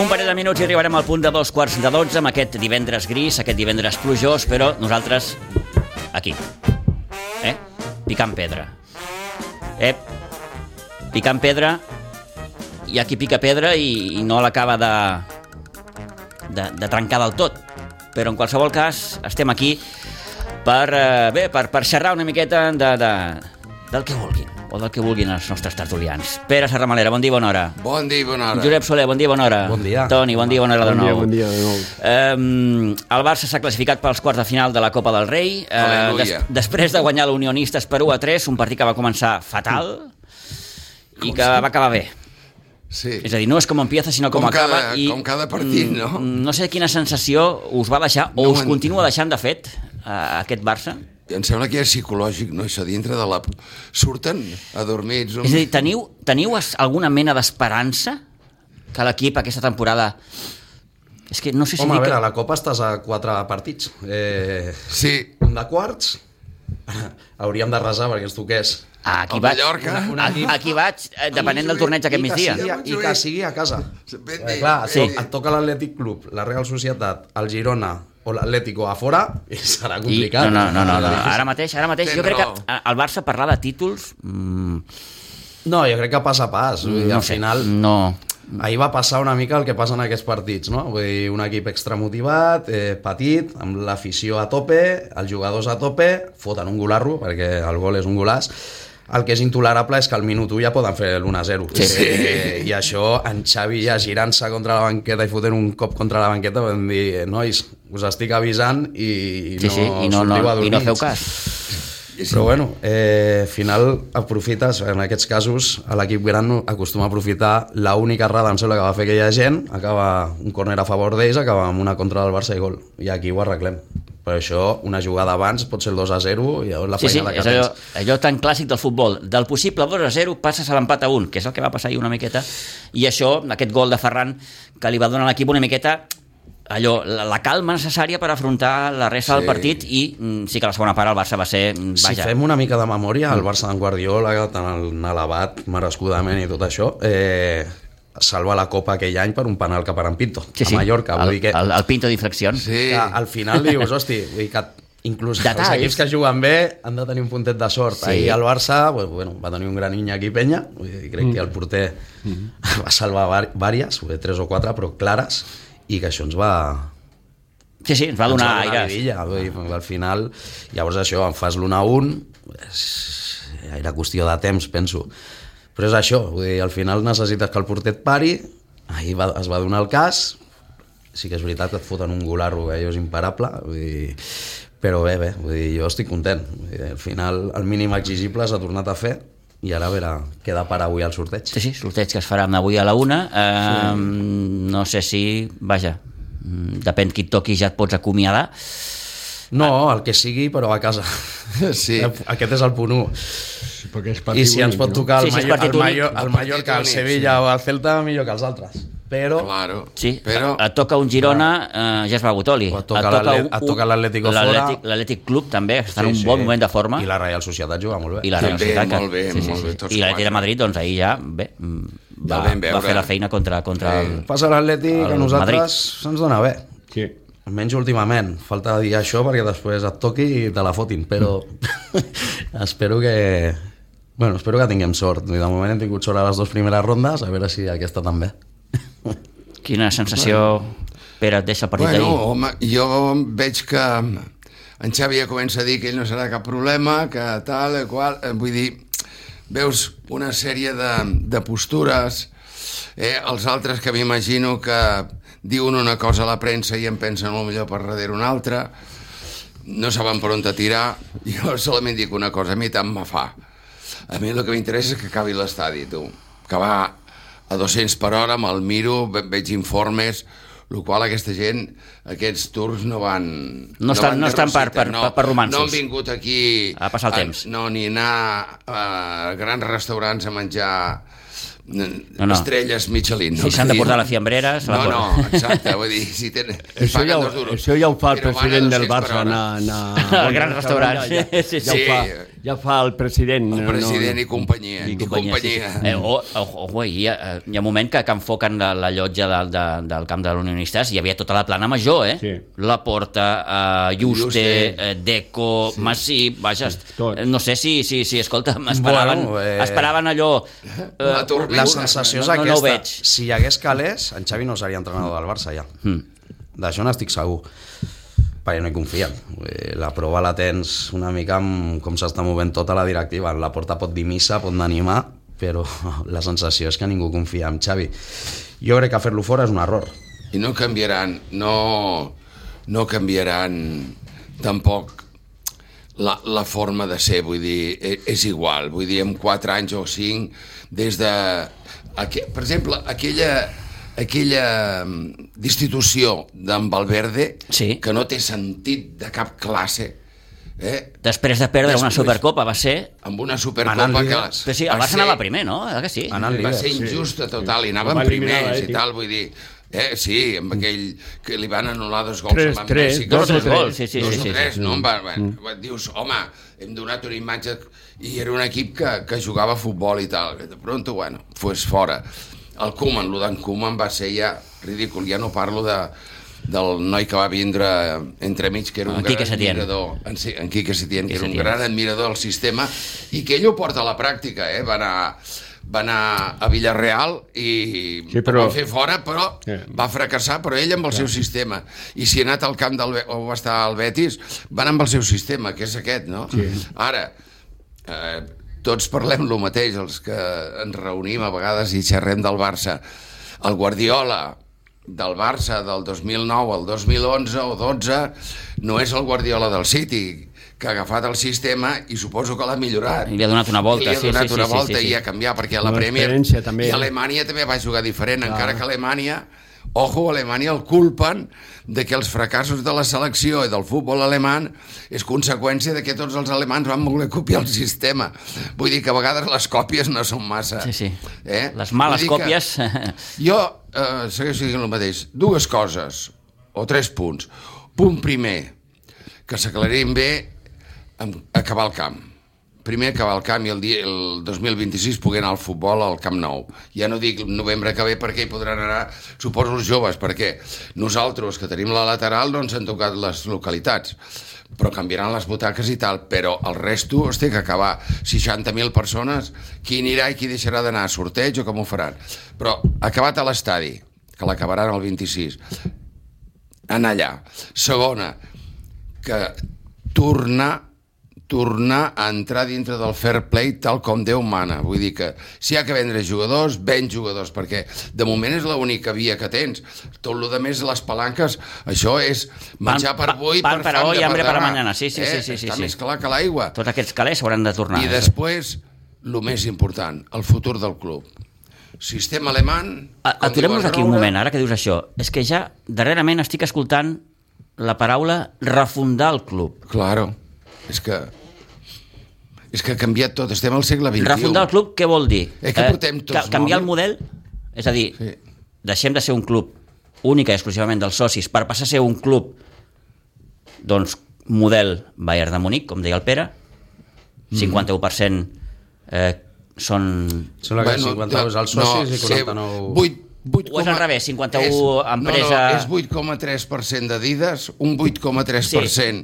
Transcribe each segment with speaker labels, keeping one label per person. Speaker 1: Un parell de minuts i arribarem al punt de dos quarts de dotze amb aquest divendres gris, aquest divendres plujós, però nosaltres aquí. Eh? Picant pedra. Eh? Picant pedra. Hi ha qui pica pedra i, i no l'acaba de, de, de trencar del tot. Però en qualsevol cas estem aquí per, eh, bé, per, per xerrar una miqueta de, de, del que vulguin o del que vulguin els nostres tertulians. Pere Serramalera, bon dia, bona hora.
Speaker 2: Bon dia i bona hora.
Speaker 1: Josep Soler, bon dia, bona hora.
Speaker 3: Bon dia.
Speaker 1: Toni, bon dia, bona hora de
Speaker 4: Bon dia,
Speaker 1: nou.
Speaker 4: bon dia de nou.
Speaker 1: Um, el Barça s'ha classificat pels quarts de final de la Copa del Rei. Eh,
Speaker 2: Aleluia.
Speaker 1: després de guanyar l'Unionistes per 1 a 3, un partit que va començar fatal
Speaker 2: Mm.
Speaker 1: i que va acabar bé.
Speaker 2: Sí.
Speaker 1: És a dir, no és com empieza, sinó com,
Speaker 2: Com cada-
Speaker 1: acaba. I,
Speaker 2: com cada partit,
Speaker 1: Mm,
Speaker 2: no?
Speaker 1: No sé quina sensació us va deixar, o
Speaker 2: No
Speaker 1: us
Speaker 2: en-
Speaker 1: continua deixant, de fet, a aquest Barça.
Speaker 2: Em sembla que és psicològic, no? Això dintre de la... Surten adormits... Un...
Speaker 1: És a dir, teniu, teniu es- alguna mena d'esperança que l'equip aquesta temporada... És que no sé si
Speaker 3: Home, a
Speaker 1: dir
Speaker 3: veure,
Speaker 1: que...
Speaker 3: a la Copa estàs a quatre partits. Eh,
Speaker 2: Sí,
Speaker 3: un de quarts, hauríem de resar perquè ens toqués.
Speaker 1: Aquí
Speaker 2: el
Speaker 1: vaig,
Speaker 2: Mallorca.
Speaker 1: una- una- aquí, aquí vaig, eh, depenent del torneig aquest
Speaker 3: I que
Speaker 1: migdia.
Speaker 3: sigui a- I que sigui a casa.
Speaker 2: Ben
Speaker 3: Eh,
Speaker 2: dit,
Speaker 3: clar,
Speaker 2: ben
Speaker 3: sí.
Speaker 2: dit.
Speaker 3: et toca l'Atlètic Club, la Real Societat, el Girona o l'Atlético a fora, i serà
Speaker 1: I,
Speaker 3: complicat.
Speaker 1: no, no, no, no, no, ara mateix, ara mateix,
Speaker 2: Tens
Speaker 1: jo crec que
Speaker 2: raó.
Speaker 1: eh, el Barça parlar de títols, mm,
Speaker 3: No, jo crec que pas a pas. Vull dir,
Speaker 1: no
Speaker 3: al
Speaker 1: sé, Mm.
Speaker 3: final,
Speaker 1: no...
Speaker 3: Ahir va passar una mica el que passa en aquests partits, no? Vull dir, un equip extramotivat, eh, petit, amb l'afició a tope, els jugadors a tope, foten un golarro, perquè el gol és un golàs, el que és intolerable és que al minut 1 ja poden fer l'1-0.
Speaker 1: Sí.
Speaker 3: Eh, I això, en Xavi ja girant-se contra la banqueta i fotent un cop contra la banqueta, van dir, "Eh, nois, us estic avisant i, i
Speaker 1: Sí,
Speaker 3: no
Speaker 1: sí, i no, no,
Speaker 3: sortiu
Speaker 1: i no
Speaker 3: adormits."
Speaker 1: feu cas.
Speaker 3: Però bueno, eh, al final aprofites, en aquests casos, a l'equip gran no- acostuma a aprofitar la única errada, em sembla, que va fer aquella gent, acaba un corner a favor d'ells, acaba amb una contra del Barça i gol. I aquí ho arreglem. Per això, una jugada abans pot ser el 2 a 0 i llavors la
Speaker 1: Sí, sí,
Speaker 3: feinada
Speaker 1: és
Speaker 3: que
Speaker 1: allò,
Speaker 3: tens.
Speaker 1: allò tan clàssic del futbol. Del possible 2 a 0 passes a l'empat a 1, que és el que va passar ahir una miqueta, i això, aquest gol de Ferran, que li va donar a l'equip una miqueta allò, la, la calma necessària per afrontar la resta sí. del
Speaker 2: Sí.
Speaker 1: partit i mm, sí que la segona part el Barça va ser, mm,
Speaker 3: Si
Speaker 1: vaja,
Speaker 3: fem una mica de memòria, el Barça d'en Guardiola, tan elevat, merescudament i tot això, eh, salva la Copa aquell any per un penal que per en Pinto,
Speaker 1: sí, sí,
Speaker 3: a Mallorca. Vull
Speaker 1: el,
Speaker 3: dir que
Speaker 1: el, el pinto d'inflexions.
Speaker 2: Sí.
Speaker 3: que al final dius, hosti, vull dir que inclús
Speaker 1: Detalls.
Speaker 3: els equips que juguen bé han de tenir un puntet de sort.
Speaker 1: Sí.
Speaker 3: Sí. Ahir el Barça pues, bueno, va tenir un gran Iñaki Penya, vull dir, crec que el porter va salvar var- vàries, vull dir, tres o quatre, però clares, i que això ens va,
Speaker 1: Sí, sí, ens va
Speaker 3: ens
Speaker 1: donar
Speaker 3: va
Speaker 1: aires.
Speaker 3: vidilla. Vull dir, al final, llavors això, en fas l'1 a 1, és, era qüestió de temps, penso. Però és això, vull dir, al final necessites que el porter et pari, ahir va, es va donar el cas, sí que és veritat que et foten un golarro, que allò és imparable, vull dir, però bé, bé, vull dir, jo estic content. Vull dir, al final, el mínim exigible s'ha tornat a fer, i ara a veure què depara avui al sorteig.
Speaker 1: Sí, sí, sorteig que es farà avui a la una. Eh, No sé si, vaja, mm, depèn qui et toqui ja et pots acomiadar.
Speaker 3: No, el que sigui, però a casa.
Speaker 2: Sí.
Speaker 3: Aquest és el punt 1.
Speaker 4: Sí, perquè és
Speaker 3: I si ens pot tocar
Speaker 1: Sí,
Speaker 3: el,
Speaker 1: sí, és
Speaker 3: Mayo-
Speaker 1: partit
Speaker 3: el,
Speaker 1: únic.
Speaker 3: Mayo- el
Speaker 2: Partit
Speaker 3: Mallorca, el
Speaker 2: únic,
Speaker 3: Sevilla o el Celta, millor que els altres. Però
Speaker 2: Claro.
Speaker 1: Sí, però...
Speaker 2: Però...
Speaker 1: et toca un Girona, eh, ja es va Gotoli.
Speaker 3: O et toca l'Atlet- et toca l'Atlético fora.
Speaker 1: L'Atlètic Club també, que està en un bon moment de forma.
Speaker 3: I la Real Societat juga molt bé.
Speaker 1: I la
Speaker 2: També,
Speaker 1: Real Societat, que-
Speaker 2: molt bé, molt bé, tots
Speaker 1: I l'Atlètic de
Speaker 2: quatre.
Speaker 1: Madrid, doncs ahir ja bé, mm, va,
Speaker 2: vam
Speaker 1: va
Speaker 2: veure.
Speaker 1: fer la feina contra, contra el...
Speaker 3: Passa l'Atleti, que
Speaker 1: El
Speaker 3: a nosaltres se'ns dona bé.
Speaker 4: Sí.
Speaker 3: Almenys últimament. Falta dir això perquè després et toqui i te la fotin, però
Speaker 1: Mm.
Speaker 3: espero que... Bueno, espero que tinguem sort. I De moment hem tingut sort a les dues primeres rondes, a veure si aquesta també.
Speaker 1: Quina sensació, Pere, et deixa el partit
Speaker 2: Bueno,
Speaker 1: d'ahir?
Speaker 2: home, jo veig que mm, en Xavi ja comença a dir que ell no serà cap problema, que tal, i qual... eh, Vull dir, veus una sèrie de, de postures, eh? els altres que m'imagino que diuen una cosa a la premsa i en pensen el millor per darrere una altra, no saben per on te tirar, jo solament dic una cosa, a mi tant me fa. A mi el que m'interessa és que acabi l'estadi, tu. Que va a 200 per hora, me'l miro, ve- veig informes, el qual aquesta gent, aquests turcs no van...
Speaker 1: No estan-
Speaker 2: van
Speaker 1: no
Speaker 2: de
Speaker 1: estan per-
Speaker 2: rosita,
Speaker 1: per- per- per romansos.
Speaker 2: No han vingut aquí...
Speaker 1: A passar el
Speaker 2: a-
Speaker 1: temps.
Speaker 2: No, ni anar a grans restaurants a menjar no,
Speaker 1: No, no.
Speaker 2: no. estrelles Michelin.
Speaker 1: Si s'han de portar les fiambreres... se
Speaker 2: No,
Speaker 1: la
Speaker 2: no,
Speaker 1: porten.
Speaker 2: exacte, vull dir, si tenen...
Speaker 4: Això ja, ho, això ja ho fa el president del Barça, anar, anar
Speaker 1: Al gran restaurant.
Speaker 4: Ja, ja,
Speaker 1: Sí,
Speaker 4: ja,
Speaker 2: sí.
Speaker 4: ho fa, ja ho fa el president.
Speaker 2: El president i companyia.
Speaker 1: I
Speaker 2: I
Speaker 1: companyia, sí, sí.
Speaker 2: companyia.
Speaker 1: Eh, o, o, o, hi, ha, eh, hi ha un moment que, que enfoquen la, la llotja de, de, del camp de l'Unionistes i hi havia tota la plana major, eh?
Speaker 4: Sí.
Speaker 1: La Porta, eh, Juste,
Speaker 2: Juste.
Speaker 1: eh, Deco, sí. Massi, vaja, est-
Speaker 4: tot.
Speaker 1: no sé si, si, si escolta, esperaven, bueno,
Speaker 3: Bueno, eh,
Speaker 1: eh... esperaven allò... Eh,
Speaker 2: La turbina.
Speaker 3: La sensació és
Speaker 1: no,
Speaker 3: aquesta.
Speaker 1: No, no ho veig. Hmm.
Speaker 3: Si hi hagués calés, en Xavi no seria entrenador del Barça ja. Mm. D'això n'estic segur. Perquè no hi confien. Eh, La prova la tens una mica amb com s'està movent tota la directiva. La porta pot dir missa, pot anar a animar, però la sensació és que ningú confia en Xavi. Jo crec que fer-lo fora és un error.
Speaker 2: I no canviaran, no, no canviaran tampoc la, la forma de ser, vull dir, e- és igual, vull dir, en 4 anys o 5, des de... Aqu per exemple, aquella, aquella mm, destitució d'en Valverde,
Speaker 1: Sí.
Speaker 2: que no té sentit de cap classe, eh?
Speaker 1: Després de perdre una
Speaker 2: Després.
Speaker 1: Supercopa va ser...
Speaker 2: amb una
Speaker 3: Anant
Speaker 2: supercopa que...
Speaker 3: líders.
Speaker 1: Però sí, el
Speaker 2: va
Speaker 1: Barça
Speaker 2: ser-
Speaker 1: anava primer, no? Eh, Que sí?
Speaker 3: Anant
Speaker 2: va
Speaker 3: líders.
Speaker 2: ser injusta total, i
Speaker 4: Va
Speaker 2: anàvem
Speaker 4: eliminar
Speaker 2: primers i
Speaker 4: l'Atlètic.
Speaker 2: tal, vull dir... Eh, sí, amb aquell que li van anul·lar dos gols
Speaker 4: Tres,
Speaker 2: amb en
Speaker 4: tres,
Speaker 2: Messi, que va
Speaker 4: dos o
Speaker 2: ser-
Speaker 4: tres.
Speaker 1: Sí, sí,
Speaker 2: dos
Speaker 1: sí, sí,
Speaker 2: o tres,
Speaker 1: sí. Mm.
Speaker 2: no? Va, va, va, dius, home, hem donat una imatge i era un equip que, que jugava a futbol i tal, que de pronto, bueno, fos fora. El Koeman, lo d'en Koeman va ser ja ridícul, ja no parlo de, del noi que va vindre entremig, que era un
Speaker 1: En Quique
Speaker 2: gran
Speaker 1: Setién.
Speaker 2: admirador, en, Si- en Quique Setién, que
Speaker 1: Quique
Speaker 2: era un
Speaker 1: Setién.
Speaker 2: gran admirador del sistema i que ell ho porta a la pràctica, eh? Va anar, va anar a Villarreal i
Speaker 4: Sí,
Speaker 2: sí, però...
Speaker 4: però-
Speaker 2: va fer fora, però
Speaker 4: Eh.
Speaker 2: va fracassar, però ell amb el seu sistema. I si ha anat al camp del, Be- o va estar al Betis, va anar amb el seu sistema, que és aquest, no? Sí. Ara, eh, tots parlem lo mateix, els que ens reunim a vegades i xerrem del Barça. El Guardiola del Barça del 2009 al 2011 o 12 no és el Guardiola del City, que ha agafat el sistema i suposo que l'ha millorat.
Speaker 1: I li ha donat una volta,
Speaker 2: I li ha
Speaker 1: sí,
Speaker 2: donat
Speaker 1: sí, sí,
Speaker 2: una
Speaker 1: sí,
Speaker 2: volta
Speaker 1: sí, sí.
Speaker 2: i ha canviat, perquè
Speaker 4: Una
Speaker 2: la Premier
Speaker 4: experiència, també. eh?
Speaker 2: i Alemanya també va jugar diferent, encara que Alemanya Ojo, a Alemanya el culpen de que els fracassos de la selecció i del futbol alemany és conseqüència de que tots els alemans van voler copiar el sistema. Vull dir que a vegades les còpies no són massa.
Speaker 1: Sí, sí.
Speaker 2: Eh?
Speaker 1: Les males
Speaker 2: Vull dir que-
Speaker 1: còpies...
Speaker 2: jo eh, segueixo dient el mateix. Dues coses, o tres punts. Punt primer, que s'aclarim bé amb acabar el camp. Primer acabar el camp i el, dia, el 2026 poder anar al futbol al Camp Nou. Ja no dic novembre que ve perquè hi podran anar, suposo, els joves, perquè nosaltres, que tenim la lateral, no ens han tocat les localitats però canviaran les butaques i tal, però el resto es té que acabar. 60.000 persones, qui anirà i qui deixarà d'anar, sorteig o com ho faran? Però acabat a l'estadi, que l'acabaran el 26, anar allà. Segona, que tornar tornar a entrar dintre del fair play tal com Déu mana. Vull dir que si hi ha que vendre jugadors, ven jugadors, perquè de moment és l'única via que tens. Tot el que més, les palanques, això és menjar
Speaker 1: Pan-
Speaker 2: per avui,
Speaker 1: pan per avui
Speaker 2: fam
Speaker 1: i
Speaker 2: de
Speaker 1: hambre per
Speaker 2: demà.
Speaker 1: mañana. Sí, sí, sí, sí, sí,
Speaker 2: Està
Speaker 1: sí.
Speaker 2: més clar que l'aigua.
Speaker 1: Tots aquests calés s'hauran de tornar. eh?
Speaker 2: I després, el més important, el futur del club. Sistema alemany...
Speaker 1: A-
Speaker 2: com
Speaker 1: Aturem-nos
Speaker 2: diu el
Speaker 1: aquí un
Speaker 2: Roure,
Speaker 1: moment, ara que dius això. És que ja darrerament estic escoltant la paraula refundar el club.
Speaker 2: Claro, és que... És que ha canviat tot, estem al segle XXI.
Speaker 1: Refundar el club què vol dir?
Speaker 2: Eh, que portem tots
Speaker 1: ca- canviar el model? És a dir, sí.
Speaker 2: Sí.
Speaker 1: deixem de ser un club única i exclusivament dels socis per passar a ser un club doncs, model Bayern de Múnich, com deia el Pere,
Speaker 2: Mm.
Speaker 1: 51% eh, són...
Speaker 3: Són la bueno, 52 als socis i 49...
Speaker 2: 8, 8,
Speaker 1: O és al revés, 51 empresa-
Speaker 2: No, no, és 8,3% d'Adidas, un 8,3%